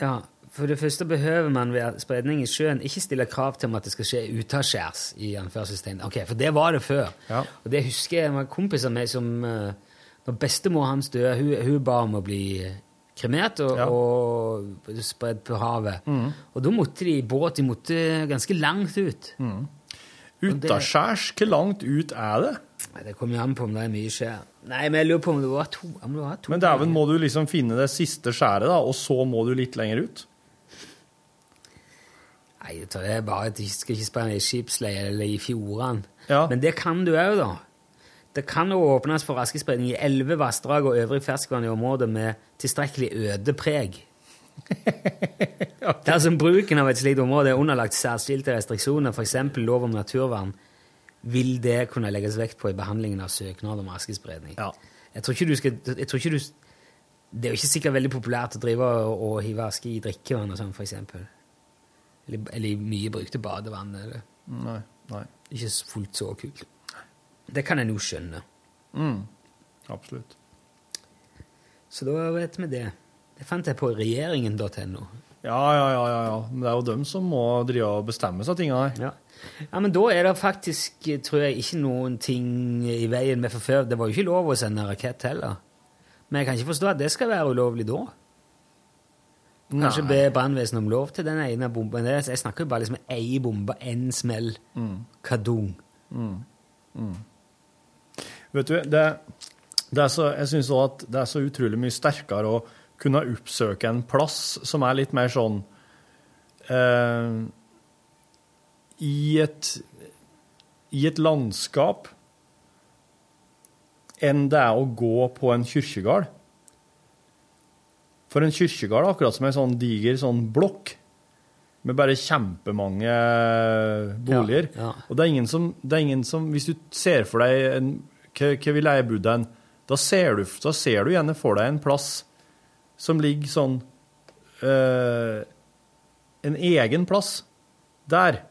S2: Ja, for det første behøver man ved spredning i sjøen ikke stille krav til om at det skal skje utaskjærs. i anførselstegn. Ok, For det var det før. Og det husker jeg det var en kompis av meg som eh, Når bestemor hans døde, hun, hun ba om å bli kremert og, og spredd på havet.
S9: Mhm.
S2: Og da måtte de i båt. De måtte ganske langt ut.
S9: Mm.
S2: Og det-
S9: Utaskjærs? Hvor langt ut er det?
S2: Nei, Det kommer jo an på om det er mye skjær. Nei, men jeg lurer på om det var to. Om det var to
S9: Men dæven, må du liksom finne det siste skjæret, da, og så må du litt lenger ut?
S2: Nei, det tror jeg er bare at de skal ikke spille i skipsleie eller i fjordene.
S9: Ja.
S2: Men det kan du òg, da. Det kan jo åpnes for raskespredning i elleve vassdrag og øvrig ferskvann i områder med tilstrekkelig ødepreg. Dersom altså bruken av et slikt område er underlagt særskilte restriksjoner, f.eks. lov om naturvern, vil det kunne legges vekt på i behandlingen av søknad om raskespredning. Jeg tror ikke du skal jeg tror ikke du, Det er jo ikke sikkert veldig populært å drive og, og hive aske i drikkevann og sånn, f.eks. Eller, eller i mye brukte badevann. Eller.
S9: Nei. nei.
S2: Ikke s- fullt så kult. Det kan en jo skjønne.
S9: Mm. Absolutt.
S2: Så da vet vi det. Det fant jeg på regjeringen.no.
S9: Ja, ja, ja, ja, ja. Men det er jo dem som må drive og bestemme seg tinga her.
S2: Ja, men da er det faktisk, eh, tror jeg, ikke noen ting eh, i veien med for før. Det var jo ikke lov å sende rakett heller. Men jeg kan ikke forstå at det skal være ulovlig da. Kanskje be brannvesenet om lov til den ene bomben. Det- Jeg snakker jo bare liksom ei bombe, én smell,
S9: Mm.
S2: kadung.
S9: Mm. Mm. Vet du, det, det er så, jeg syns òg at det er så utrolig mye sterkere å kunne oppsøke en plass som er litt mer sånn eh, i, et, I et landskap enn det er å gå på en kirkegård. For en kirkegård er akkurat som en sånn diger sånn blokk med bare kjempemange eh, boliger. Og det er ingen som, det er ingen som Hvis du ser for deg en, hva, hva vil jeg bo den, da ser, du, da ser du gjerne for deg en plass som ligger sånn eh, En egen plass. Der.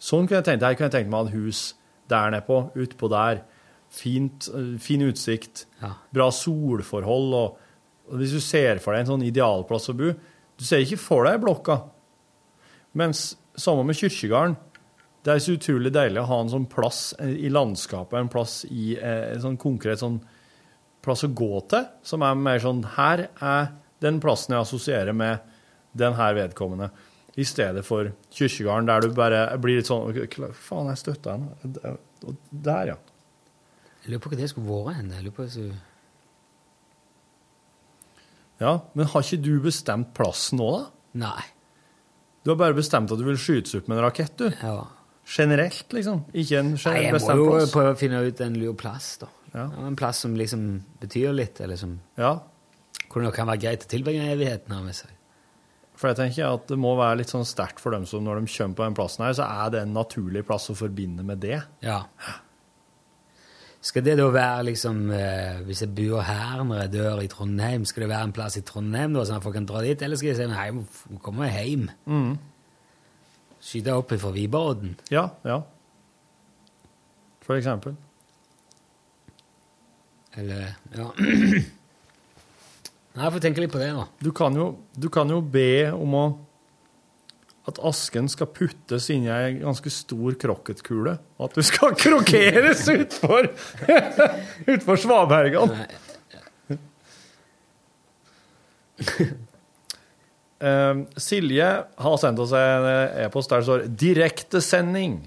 S9: Sånn kunne jeg tenkt her kunne jeg tenkt meg å ha et hus der nede på, utpå der. Fint, eh, fin utsikt, bra solforhold. Og, og hvis du ser for deg en sånn idealplass å bo Du ser ikke for deg blokka. Mens sammen med kirkegården det er så utrolig deilig å ha en sånn plass eh, i landskapet, en plass i eh, en sånn konkret sånn plass å gå til, som er mer sånn Her er den plassen jeg assosierer med den her vedkommende. I stedet for kirkegården, der du bare blir litt sånn «Kla- Faen, jeg støtta henne. Og Der, ja.
S2: Jeg lurer på hva det skulle vært hen. Jeg lurer på hvis du-
S9: Ja, Men har ikke du bestemt plassen nå, da?
S2: Nei.
S9: Du har bare bestemt at du vil skytes opp med en rakett, du. Generelt, liksom. Ikke en
S2: Nei,
S9: generell
S2: jeg må
S9: bestemt
S2: jo
S9: plass.
S2: prøve å finne ut en lur plass, da. Ja, En plass som liksom betyr litt, eller som Hvor det kan være greit å tilbringe evigheten av med seg.
S9: For jeg tenker at det må være litt sånn sterkt for dem som når de kommer på den plassen her, så er det en naturlig plass å forbinde med det.
S2: Ja. Skal det da være liksom eh, Hvis jeg bor her når jeg dør i Trondheim, skal det være en plass i Trondheim da, sånn at folk kan dra dit? Eller skal jeg si nei, jeg må komme hjem?
S9: Mhm.
S2: Skyte opp fra Viberodden?
S9: Ja, ja. For eksempel.
S2: Eller Ja. Nei, jeg får tenke litt på det, da.
S9: Du kan jo, du kan jo be om å at asken skal puttes inni ei ganske stor krokketkule. og At du skal krokkeres utfor, utfor svabergene! Ehm, Silje har sendt oss en eh, e-post der det står 'direktesending'.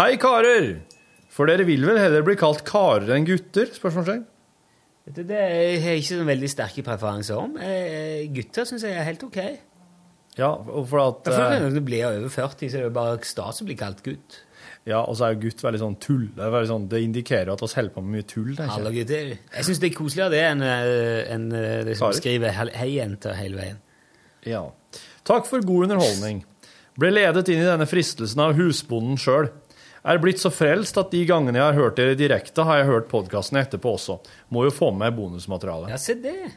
S9: Hei, karer! For dere vil vel heller bli kalt karer enn gutter? Spørsmålstegn.
S2: Vet du, Det har jeg ikke så veldig sterke preferanser om. Eh, gutter syns jeg er helt ok.
S9: Ja, og for at
S2: Ja, for
S9: eh,
S2: Når du blir over 40, så er det jo bare stas å bli kalt gutt.
S9: Ja, og så er jo gutt veldig sånn tull. Det, er veldig sånn, det indikerer at oss holder på med mye tull. tenker jeg.
S2: Alle gutter. Jeg syns det er koseligere det enn eh, enn, eh, det som
S9: Karer?
S2: skriver 'hei, jenter' hele veien.
S9: Ja. Takk for god underholdning. Ble ledet inn i denne fristelsen av husbonden sjøl. Er blitt så frelst at de gangene jeg har hørt dere direkte, har jeg hørt podkasten etterpå også. Må jo få med bonusmateriale.
S2: Ja, se det.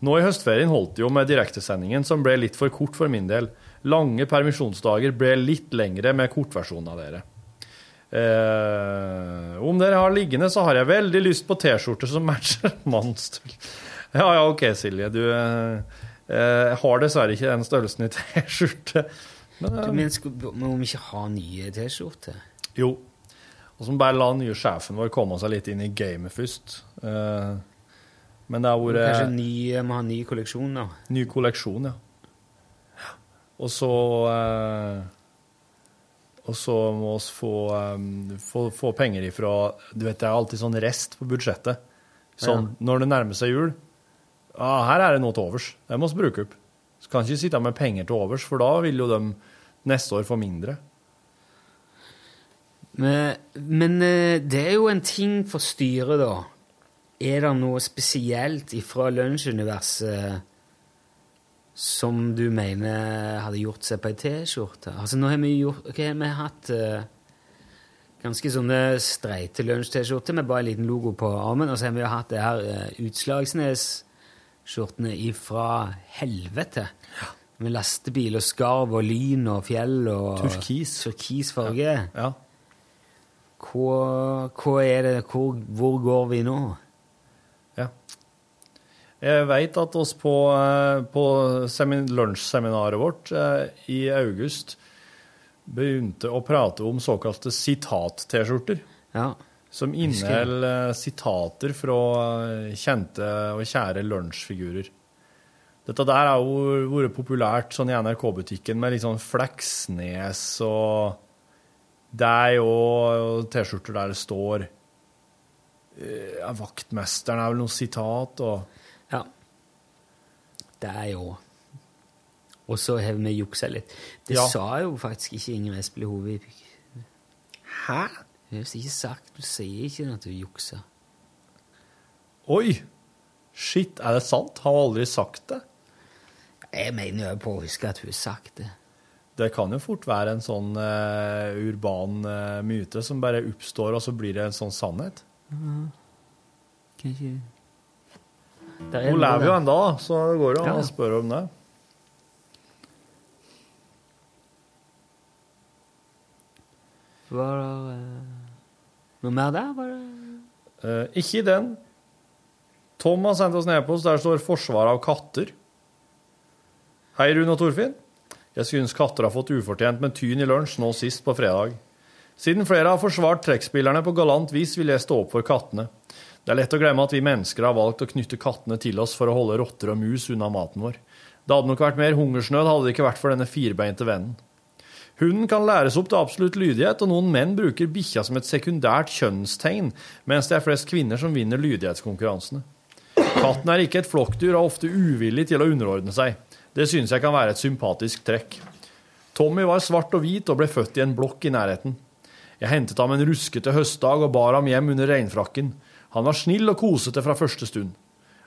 S9: Nå i høstferien holdt det jo med direktesendingen, som ble litt for kort for min del. Lange permisjonsdager ble litt lengre med kortversjonen av dere. Eh, om dere har liggende, så har jeg veldig lyst på T-skjorte som matcher mannstull. Ja, ja, ok, Silje. Du eh, eh, har dessverre ikke den størrelsen i T-skjorte. Men,
S2: Du,
S9: eh,
S2: men sku- må vi ikke ha nye T-skjorter?
S9: jo. Og så må vi bare la den nye sjefen vår komme seg litt inn i gamet først. Eh, men det har
S2: Må
S9: vært
S2: Kanskje ny, må ha en ny kolleksjon nå?
S9: Ny kolleksjon, ja. Og så eh, Og så må vi få, eh, få, få penger ifra Du vet, det er alltid sånn rest på budsjettet. Sånn når det nærmer seg jul ah, Her er det noe til overs. Det må vi bruke opp. Så kan ikke sitte med penger til overs, for da vil jo de neste år få mindre.
S2: Men, men eh, det er jo en ting for styret, da. Er det noe spesielt ifra lunsjuniverset som du mener hadde gjort seg på ei T-skjorte? Altså, nå har vi gjort Ok, vi har hatt eh, ganske sånne streite lunsj-T-skjorter med bare en liten logo på armen, og så har vi jo hatt det her eh, Utslagsnes-skjortene ifra helvete. Med lastebil og skarv og lyn og fjell og
S9: Turkis.
S2: turkisfarge.
S9: Ja.
S2: Hva, hva er det hvor, hvor går vi nå?
S9: Jeg vet at oss på, eh, på semin- lunsjseminaret vårt eh, i august begynte å prate om såkalte sitat-T-skjorter. Som
S2: husker jeg.
S9: inneholder eh, sitater fra eh, kjente og kjære lunsjfigurer. Dette der har jo vært populært sånn i NRK-butikken med litt sånn Fleksnes og deg og og T-skjorter der det står eh, ja, Vaktmesteren er vel noe sitat og
S2: Ja. Det er jo Og så har vi juksa litt. Det
S9: Ja.
S2: sa jo faktisk ikke Inger Espelid Hove.
S9: Hæ?
S2: Hun har ikke sagt Du sier ikke at du jukser.
S9: Oi! Shit, er det sant? Har hun aldri sagt det?
S2: Jeg mener jo på å huske at hun har sagt det.
S9: Det kan jo fort være en sånn eh, urban eh, myte som bare oppstår, og så blir det en sånn sannhet.
S2: Kanskje er
S9: Hun
S2: noe
S9: lever jo
S2: der.
S9: ennå, da, så det går jo an
S2: Ja, ja.
S9: å spørre om det.
S2: Var det eh, noe mer der? Var det
S9: Eh, ikke i den. Tom har sendt oss en e-post der det står 'Forsvar av katter'. Hei, Rune og Torfinn. Jeg synes katter har fått ufortjent med tyn i lunsj nå sist på fredag. Siden flere har forsvart trekkspillerne på galant vis, vil jeg stå opp for kattene. Det er lett å glemme at vi mennesker har valgt å knytte kattene til oss for å holde rotter og mus unna maten vår. Det hadde nok vært mer hungersnød hadde det ikke vært for denne firbeinte vennen. Hunden kan læres opp til absolutt lydighet, og noen menn bruker bikkja som et sekundært kjønnstegn, mens det er flest kvinner som vinner lydighetskonkurransene. Katten er ikke et flokkdyr og er ofte uvillig til å underordne seg. Det synes jeg kan være et sympatisk trekk. Tommy var svart og hvit og ble født i en blokk i nærheten. Jeg hentet ham en ruskete høstdag og bar ham hjem under regnfrakken. Han var snill og kosete fra første stund.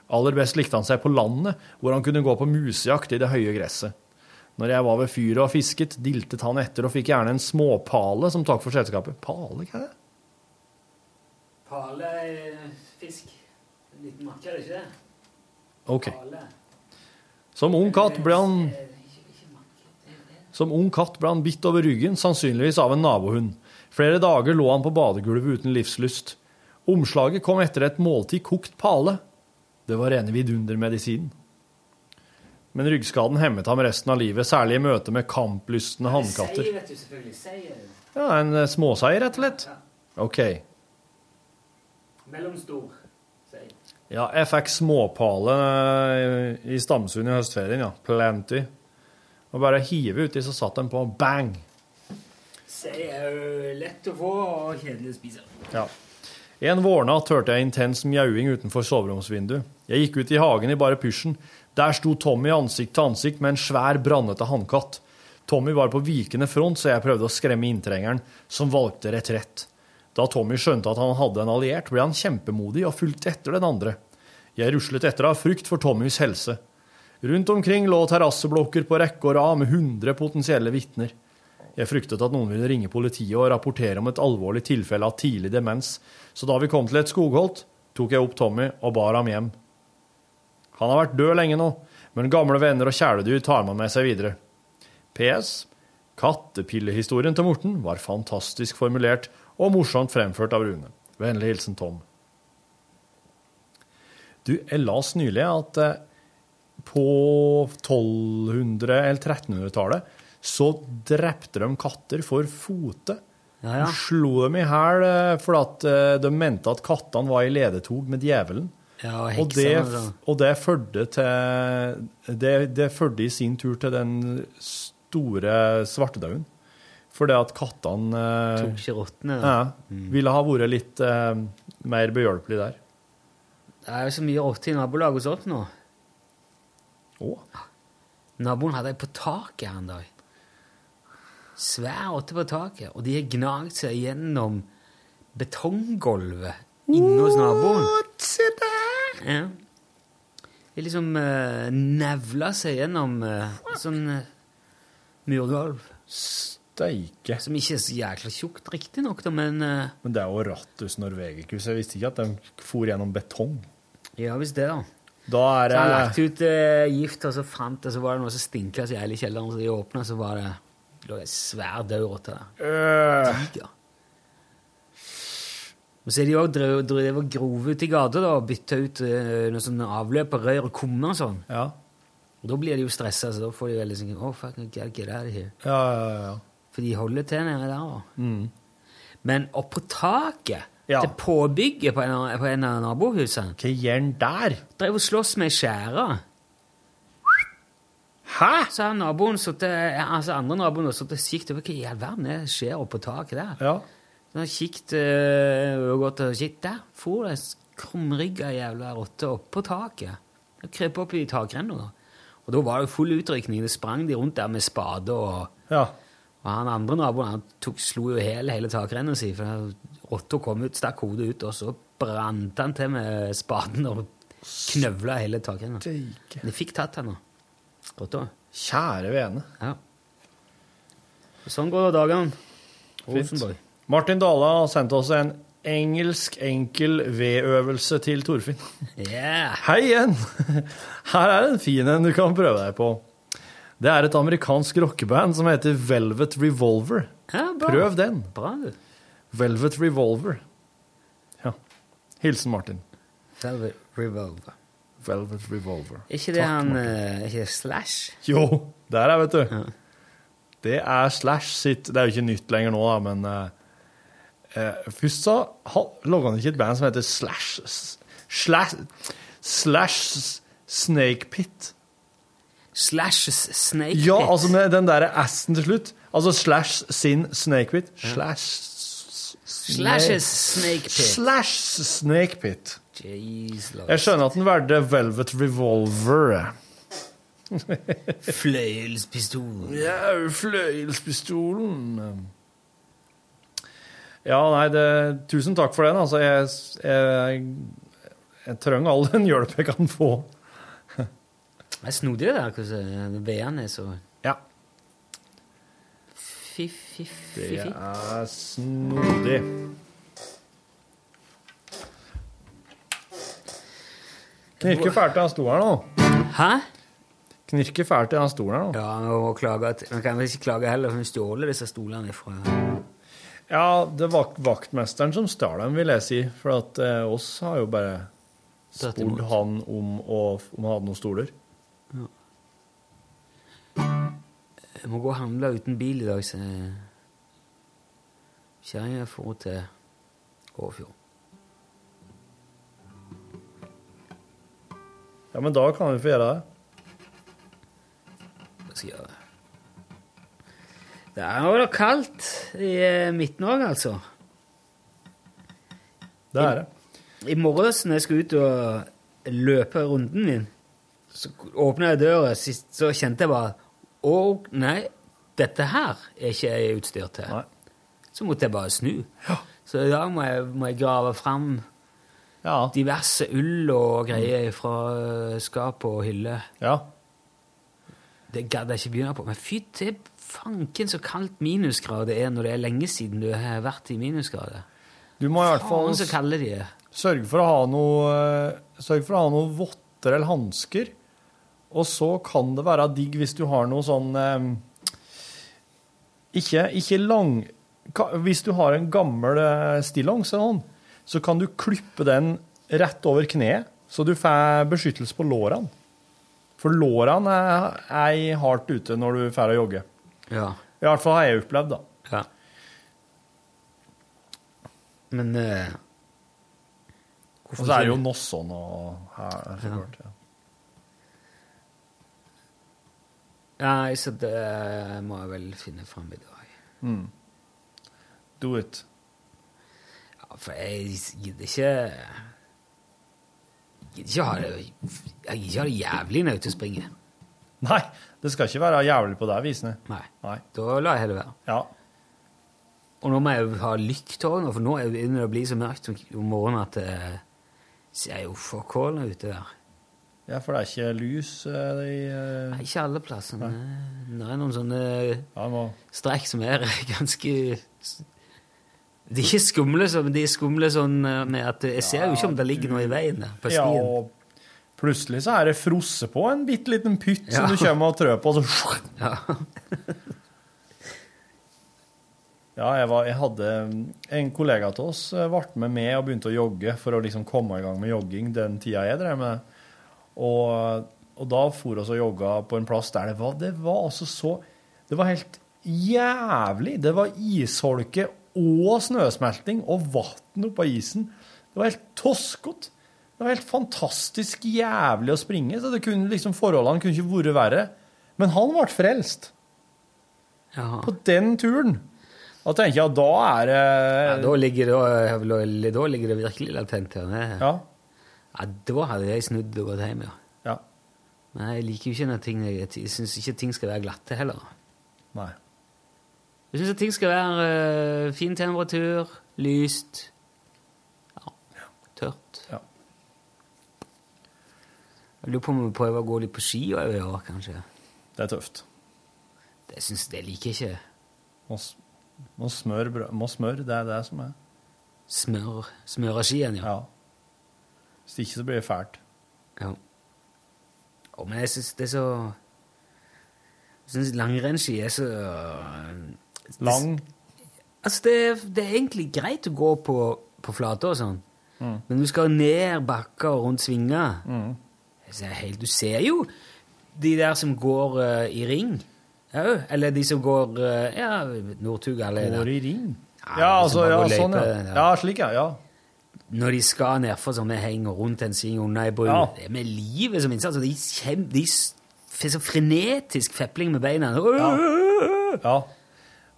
S9: Aller best likte han seg på landet, hvor han kunne gå på musejakt i det høye gresset. Når jeg var ved fyret og fisket, diltet han etter og fikk gjerne en småpale som takk for selskapet. Pale, hva er det?
S2: Pale fisk. En liten makke, er det ikke det?
S9: Ok. Som ung katt ble han Som ung katt ble han bitt over ryggen, sannsynligvis av en nabohund. Flere dager lå han på badegulvet uten livslyst. Omslaget kom etter et måltid kokt pale. Det var rene vidundermedisinen. Men ryggskaden hemmet ham resten av livet, særlig i møte med kamplystne hannkatter.
S2: Sei, vet du, selvfølgelig. Sei.
S9: Ja, En eh, småseier, rett og slett? OK.
S2: Mellomstor.
S9: Ja, jeg fikk småpale eh, i Stamsund i høstferien, ja. Plenty. Og bare hive uti, så satt den på. Bang!
S2: Sei er jo eh, lett å få og kjedelig å spise.
S9: Ja. En vårnatt hørte jeg intens mjauing utenfor soveromsvinduet. Jeg gikk ut i hagen i bare pysjen. Der sto Tommy ansikt til ansikt med en svær, brannete hannkatt. Tommy var på vikende front, så jeg prøvde å skremme inntrengeren, som valgte retrett. Da Tommy skjønte at han hadde en alliert, ble han kjempemodig og fulgte etter den andre. Jeg ruslet etter av frykt for Tommys helse. Rundt omkring lå terrasseblokker på rekke og rad med 100 potensielle vitner. Jeg fryktet at noen ville ringe politiet og rapportere om et alvorlig tilfelle av tidlig demens, så da vi kom til et skogholt, tok jeg opp Tommy og bar ham hjem. Han har vært død lenge nå, men gamle venner og kjæledyr tar man med seg videre. PS. Kattepillehistorien til Morten var fantastisk formulert og morsomt fremført av Rune. Vennlig hilsen Tom. Du, jeg las nylig at eh, på 1200- eller 1300-tallet så drepte de katter for fote.
S2: Ja, ja.
S9: De slo dem i hæl eh, fordi at eh, de mente at kattene var i ledetog med djevelen.
S2: Ja, og
S9: Og det,
S2: heksene, da.
S9: og det førte til det, det førte i sin tur til den store svartedauden. Fordi at kattene eh,
S2: Tok Mm. ikke rottene, da.
S9: Ja, ville ha vært litt eh, mer behjelpelig der.
S2: Det er jo så mye rotte i nabolaget hos oss nå.
S9: Å?
S2: Naboen hadde ei på taket her en dag. Svær rotte på taket. Og de har gnagd seg gjennom betonggulvet inne hos naboen. Ja. De liksom uh, nevla seg gjennom eh, sånn eh, murgulv.
S9: Steike.
S2: Som ikke er så jækla tjukt, riktignok, da, men eh,
S9: Men det er jo Rattus norvegicus. Jeg visste ikke at de for gjennom betong.
S2: ja visst det, da.
S9: Da er
S2: Så han lagt
S9: det
S2: ut eh, gift, og så fant det, så var det noe som stinka så jævlig i kjelleren. Så de åpna, så var det lå det en svær død rotte der.
S9: Øh.
S2: Diger. Og så er de òg drevet og grove ut i gata da, og bytta ut eh, noe sånn avløp og rør og kummer og sånn. Og da blir de jo stressa, så da får de veldig sånn oh, fuck, I gotta get out of here. For de holder til nede der. da.
S9: Mm.
S2: Men oppå taket til påbygget på en, av- på en av nabohusene
S9: Hva gjør han der?
S2: Drev og sloss med ei skjære. Hæ?! Så har naboen satt, altså andre naboen har satt og kikket over hva i all verden er det skjer oppå taket der. Så han har kikket eh, og gått og kikket. Der for det ei krumrygga jævla rotte oppå taket. Den krøp opp i takrenna. da. Og da var det jo full utrykning. Det sprang de rundt der med spade og Og han andre naboen han tok, slo jo hel hele takrenna si, for den rotta kom ut, stakk hodet ut, og så brant han til med spaden og knøvla hele takrenna. De fikk tatt han, da. Rotta.
S9: Kjære vene.
S2: Ja. Sånn går dagene. Rosenborg.
S9: Martin Dala har sendt oss en engelsk enkel V-øvelse til Torfinn.
S2: Yeah.
S9: Hei igjen! Her er en fin en du kan prøve deg på. Det er et amerikansk rockeband som heter Velvet Revolver.
S2: bra.
S9: Prøv den.
S2: Bra, du.
S9: Velvet Revolver. Ja. Hilsen Martin.
S2: Velvet Revolver.
S9: Velvet Revolver.
S2: Er ikke det han eh, er ikke det Slash?
S9: Jo, der er, vet du. Det er Slash sitt Det er jo ikke nytt lenger nå, da, men eh, eh, Først så ha- logga han ikke et band som heter Slash S- Slash, slash S- Snake Pit.
S2: Slash Snake
S9: Ja,
S2: Pit.
S9: altså med den derre S-en til slutt. Altså Slash sin Snake Pit. Slash s- s-
S2: Slashes Snake Pit.
S9: Slash Snake Pit.
S2: Jeez, Lord.
S9: Jeg skjønner at den valgte Velvet Revolver.
S2: Fløyelspistolen.
S9: Ja, fløyelspistolen. Ja, nei, det, tusen takk for den. Altså, jeg, jeg, jeg trenger all den hjelp jeg kan få.
S2: Det er snodig det der, hvordan veene er så
S9: Ja.
S2: Fiffi.
S9: Det er snodig. Knirker fælt i den stolen nå.
S2: Hæ?
S9: Knirker fælt i den stolen her nå.
S2: Ja, og klage at, man kan vel ikke klage heller, for hun stjåler disse stolene fra
S9: Ja, det var vaktmesteren som stjal dem, vil jeg si. For at eh, oss har jo bare
S2: Tatt
S9: spurt
S2: imot.
S9: han om, å, om han hadde noen stoler.
S2: Jeg må gå og handle uten bil i dag, så kjerringa dro til Åfjord.
S9: Ja, men da kan vi få gjøre det.
S2: Hva skal jeg gjøre? Det er jo da kaldt i eh, Midt-Norge, altså.
S9: Det er det.
S2: I morges når jeg skulle ut og løpe runden min, så åpna jeg døra, sist- så kjente jeg bare Å, nei, dette her er ikke jeg utstyrt til. Så måtte jeg bare snu. Så i dag må jeg, må jeg grave fram diverse ull og
S9: Mm.
S2: greier fra eh, skap og hylle. Det gadd jeg ikke begynne på. Men fy til fanken så kaldt minusgrader er når det er lenge siden du har vært i minusgrader.
S9: Du må i hvert fall
S2: Faen så kalde de er.
S9: sørge for å ha noe eh, Sørg for å ha noe votter eller hansker. Og så kan det være digg hvis du har noe sånn eh, Ikke, ikke lang ka- Hvis du har en gammel eh, stillongs, eller noe, så kan du klippe den rett over kneet, så du får beskyttelse på lårene. For lårene er, er hardt ute når du får å jogge.
S2: Ja.
S9: I hvert fall har jeg opplevd, da.
S2: Ja. Men eh,
S9: Og
S2: hvorfor
S9: så er det
S2: ikke-
S9: jo Nosson og her, så klart. Ja.
S2: Nei, så det eh, må jeg vel finne fram i dag.
S9: Mm. Do it.
S2: Ja, for jeg gidder ikke Jeg gidder ikke ha det Jeg gidder ikke ha det jævlig når jeg er ute og springer.
S9: Nei, det skal ikke være jævlig på deg, visende.
S2: Nei.
S9: Nei.
S2: Da lar jeg heller være.
S9: Ja.
S2: Og nå må jeg jo ha lykt òg, for nå er det begynner det å bli så mørkt om om morgenen at det ser jo forkålende ut det der.
S9: ja, for det er ikke lys eh, i eh,
S2: Nei, ikke alle plassene. Det er noen sånne strekk som er ganske s- De er ikke skumle, så- men de er skumle sånn eh, med at jeg ser jo ikke om det ligger noe i veien der, på
S9: Ja,
S2: stien.
S9: og plutselig så er det frosse på en bitte liten pytt
S2: Ja.
S9: som du kommer og trør på, og så
S2: Ja.
S9: Ja, jeg, var, jeg hadde En kollega av oss eh, ble med meg og begynte å jogge for å liksom komme i gang med jogging den tida jeg drev med det. Og, og da for oss og jogga på en plass der det var Det var altså så Det var helt jævlig. Det var isholke og snøsmelting og vann oppå isen. Det var helt toskete. Det var helt fantastisk jævlig å springe. så det kunne liksom Forholdene kunne ikke vært verre. Men han ble frelst på den turen. Da tenker jeg at da er det
S2: Ja, da, ligger det, da ligger det virkelig latent her. nede.
S9: Ja.
S2: ja, da hadde jeg snudd og gått hjem, ja.
S9: Ja.
S2: Men jeg liker jo ikke når ting Jeg syns ikke ting skal være glatte heller.
S9: Nei.
S2: Jeg syns at ting skal være eh, fin temperatur, lyst Ja, tørt.
S9: Ja.
S2: Jeg lurer på om vi prøver å gå litt på ski også i år, kanskje.
S9: Det er tøft.
S2: Det syns jeg liker ikke.
S9: Må, s- må smøre brød Må smøre, det er det som er.
S2: Smør, smøre skien, ja.
S9: Hvis ikke så blir det fælt.
S2: Ja. Å, men jeg syns det er så Jeg syns langrennsski er så eh,
S9: Lang?
S2: Altså, det, er- det er egentlig greit å gå på, på flate og sånn,
S9: Mm.
S2: men du skal ned bakker og rundt svinger. Jeg ser helt, du ser jo de der som går eh, i ring. Au, eller de som går eh, Ja, Northug eller
S9: Går i ring?
S2: Ja, de
S9: Ja,
S2: som
S9: altså,
S2: bare
S9: ja,
S2: går
S9: sånn,
S2: løype,
S9: ja.
S2: ja.
S9: ja. Slik, ja. ja.
S2: Når de skal nedfor sånne heng og rundt en sving under ei bru
S9: Ja.
S2: Det er med livet som innsats. og De, kjem, de s- f- så frenetisk fepling med beina.
S9: ja.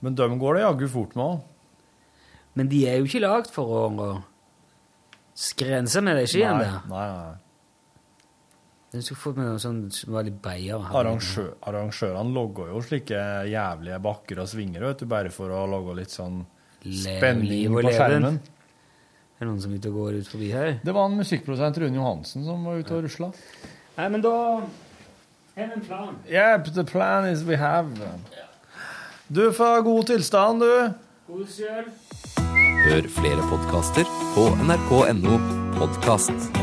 S9: Men dem går det jaggu fort med òg.
S2: Men de er jo ikke lagd for å å skrense med de skiene
S9: Nei,
S2: der.
S9: Nei, nei.
S2: Jeg skulle fått med noe sånn som var litt breiere.
S9: Arrangør, arrangørene logger jo slike jævlige bakker og svinger, vet du, bare for å lage litt sånn
S2: liv
S9: spenning
S2: og
S9: på
S2: leven.
S9: skjermen.
S2: Er det noen som er ute og går ut forbi her?
S9: Det var en musikkprodusent, Rune Johansen, som var ute og rusla.
S2: Nei, men da er det en plan.
S9: Yeah, but the plan is we have. Du får god tilstand, du.
S2: God kjøl.
S13: Hør flere podkaster på nrk.no podkast.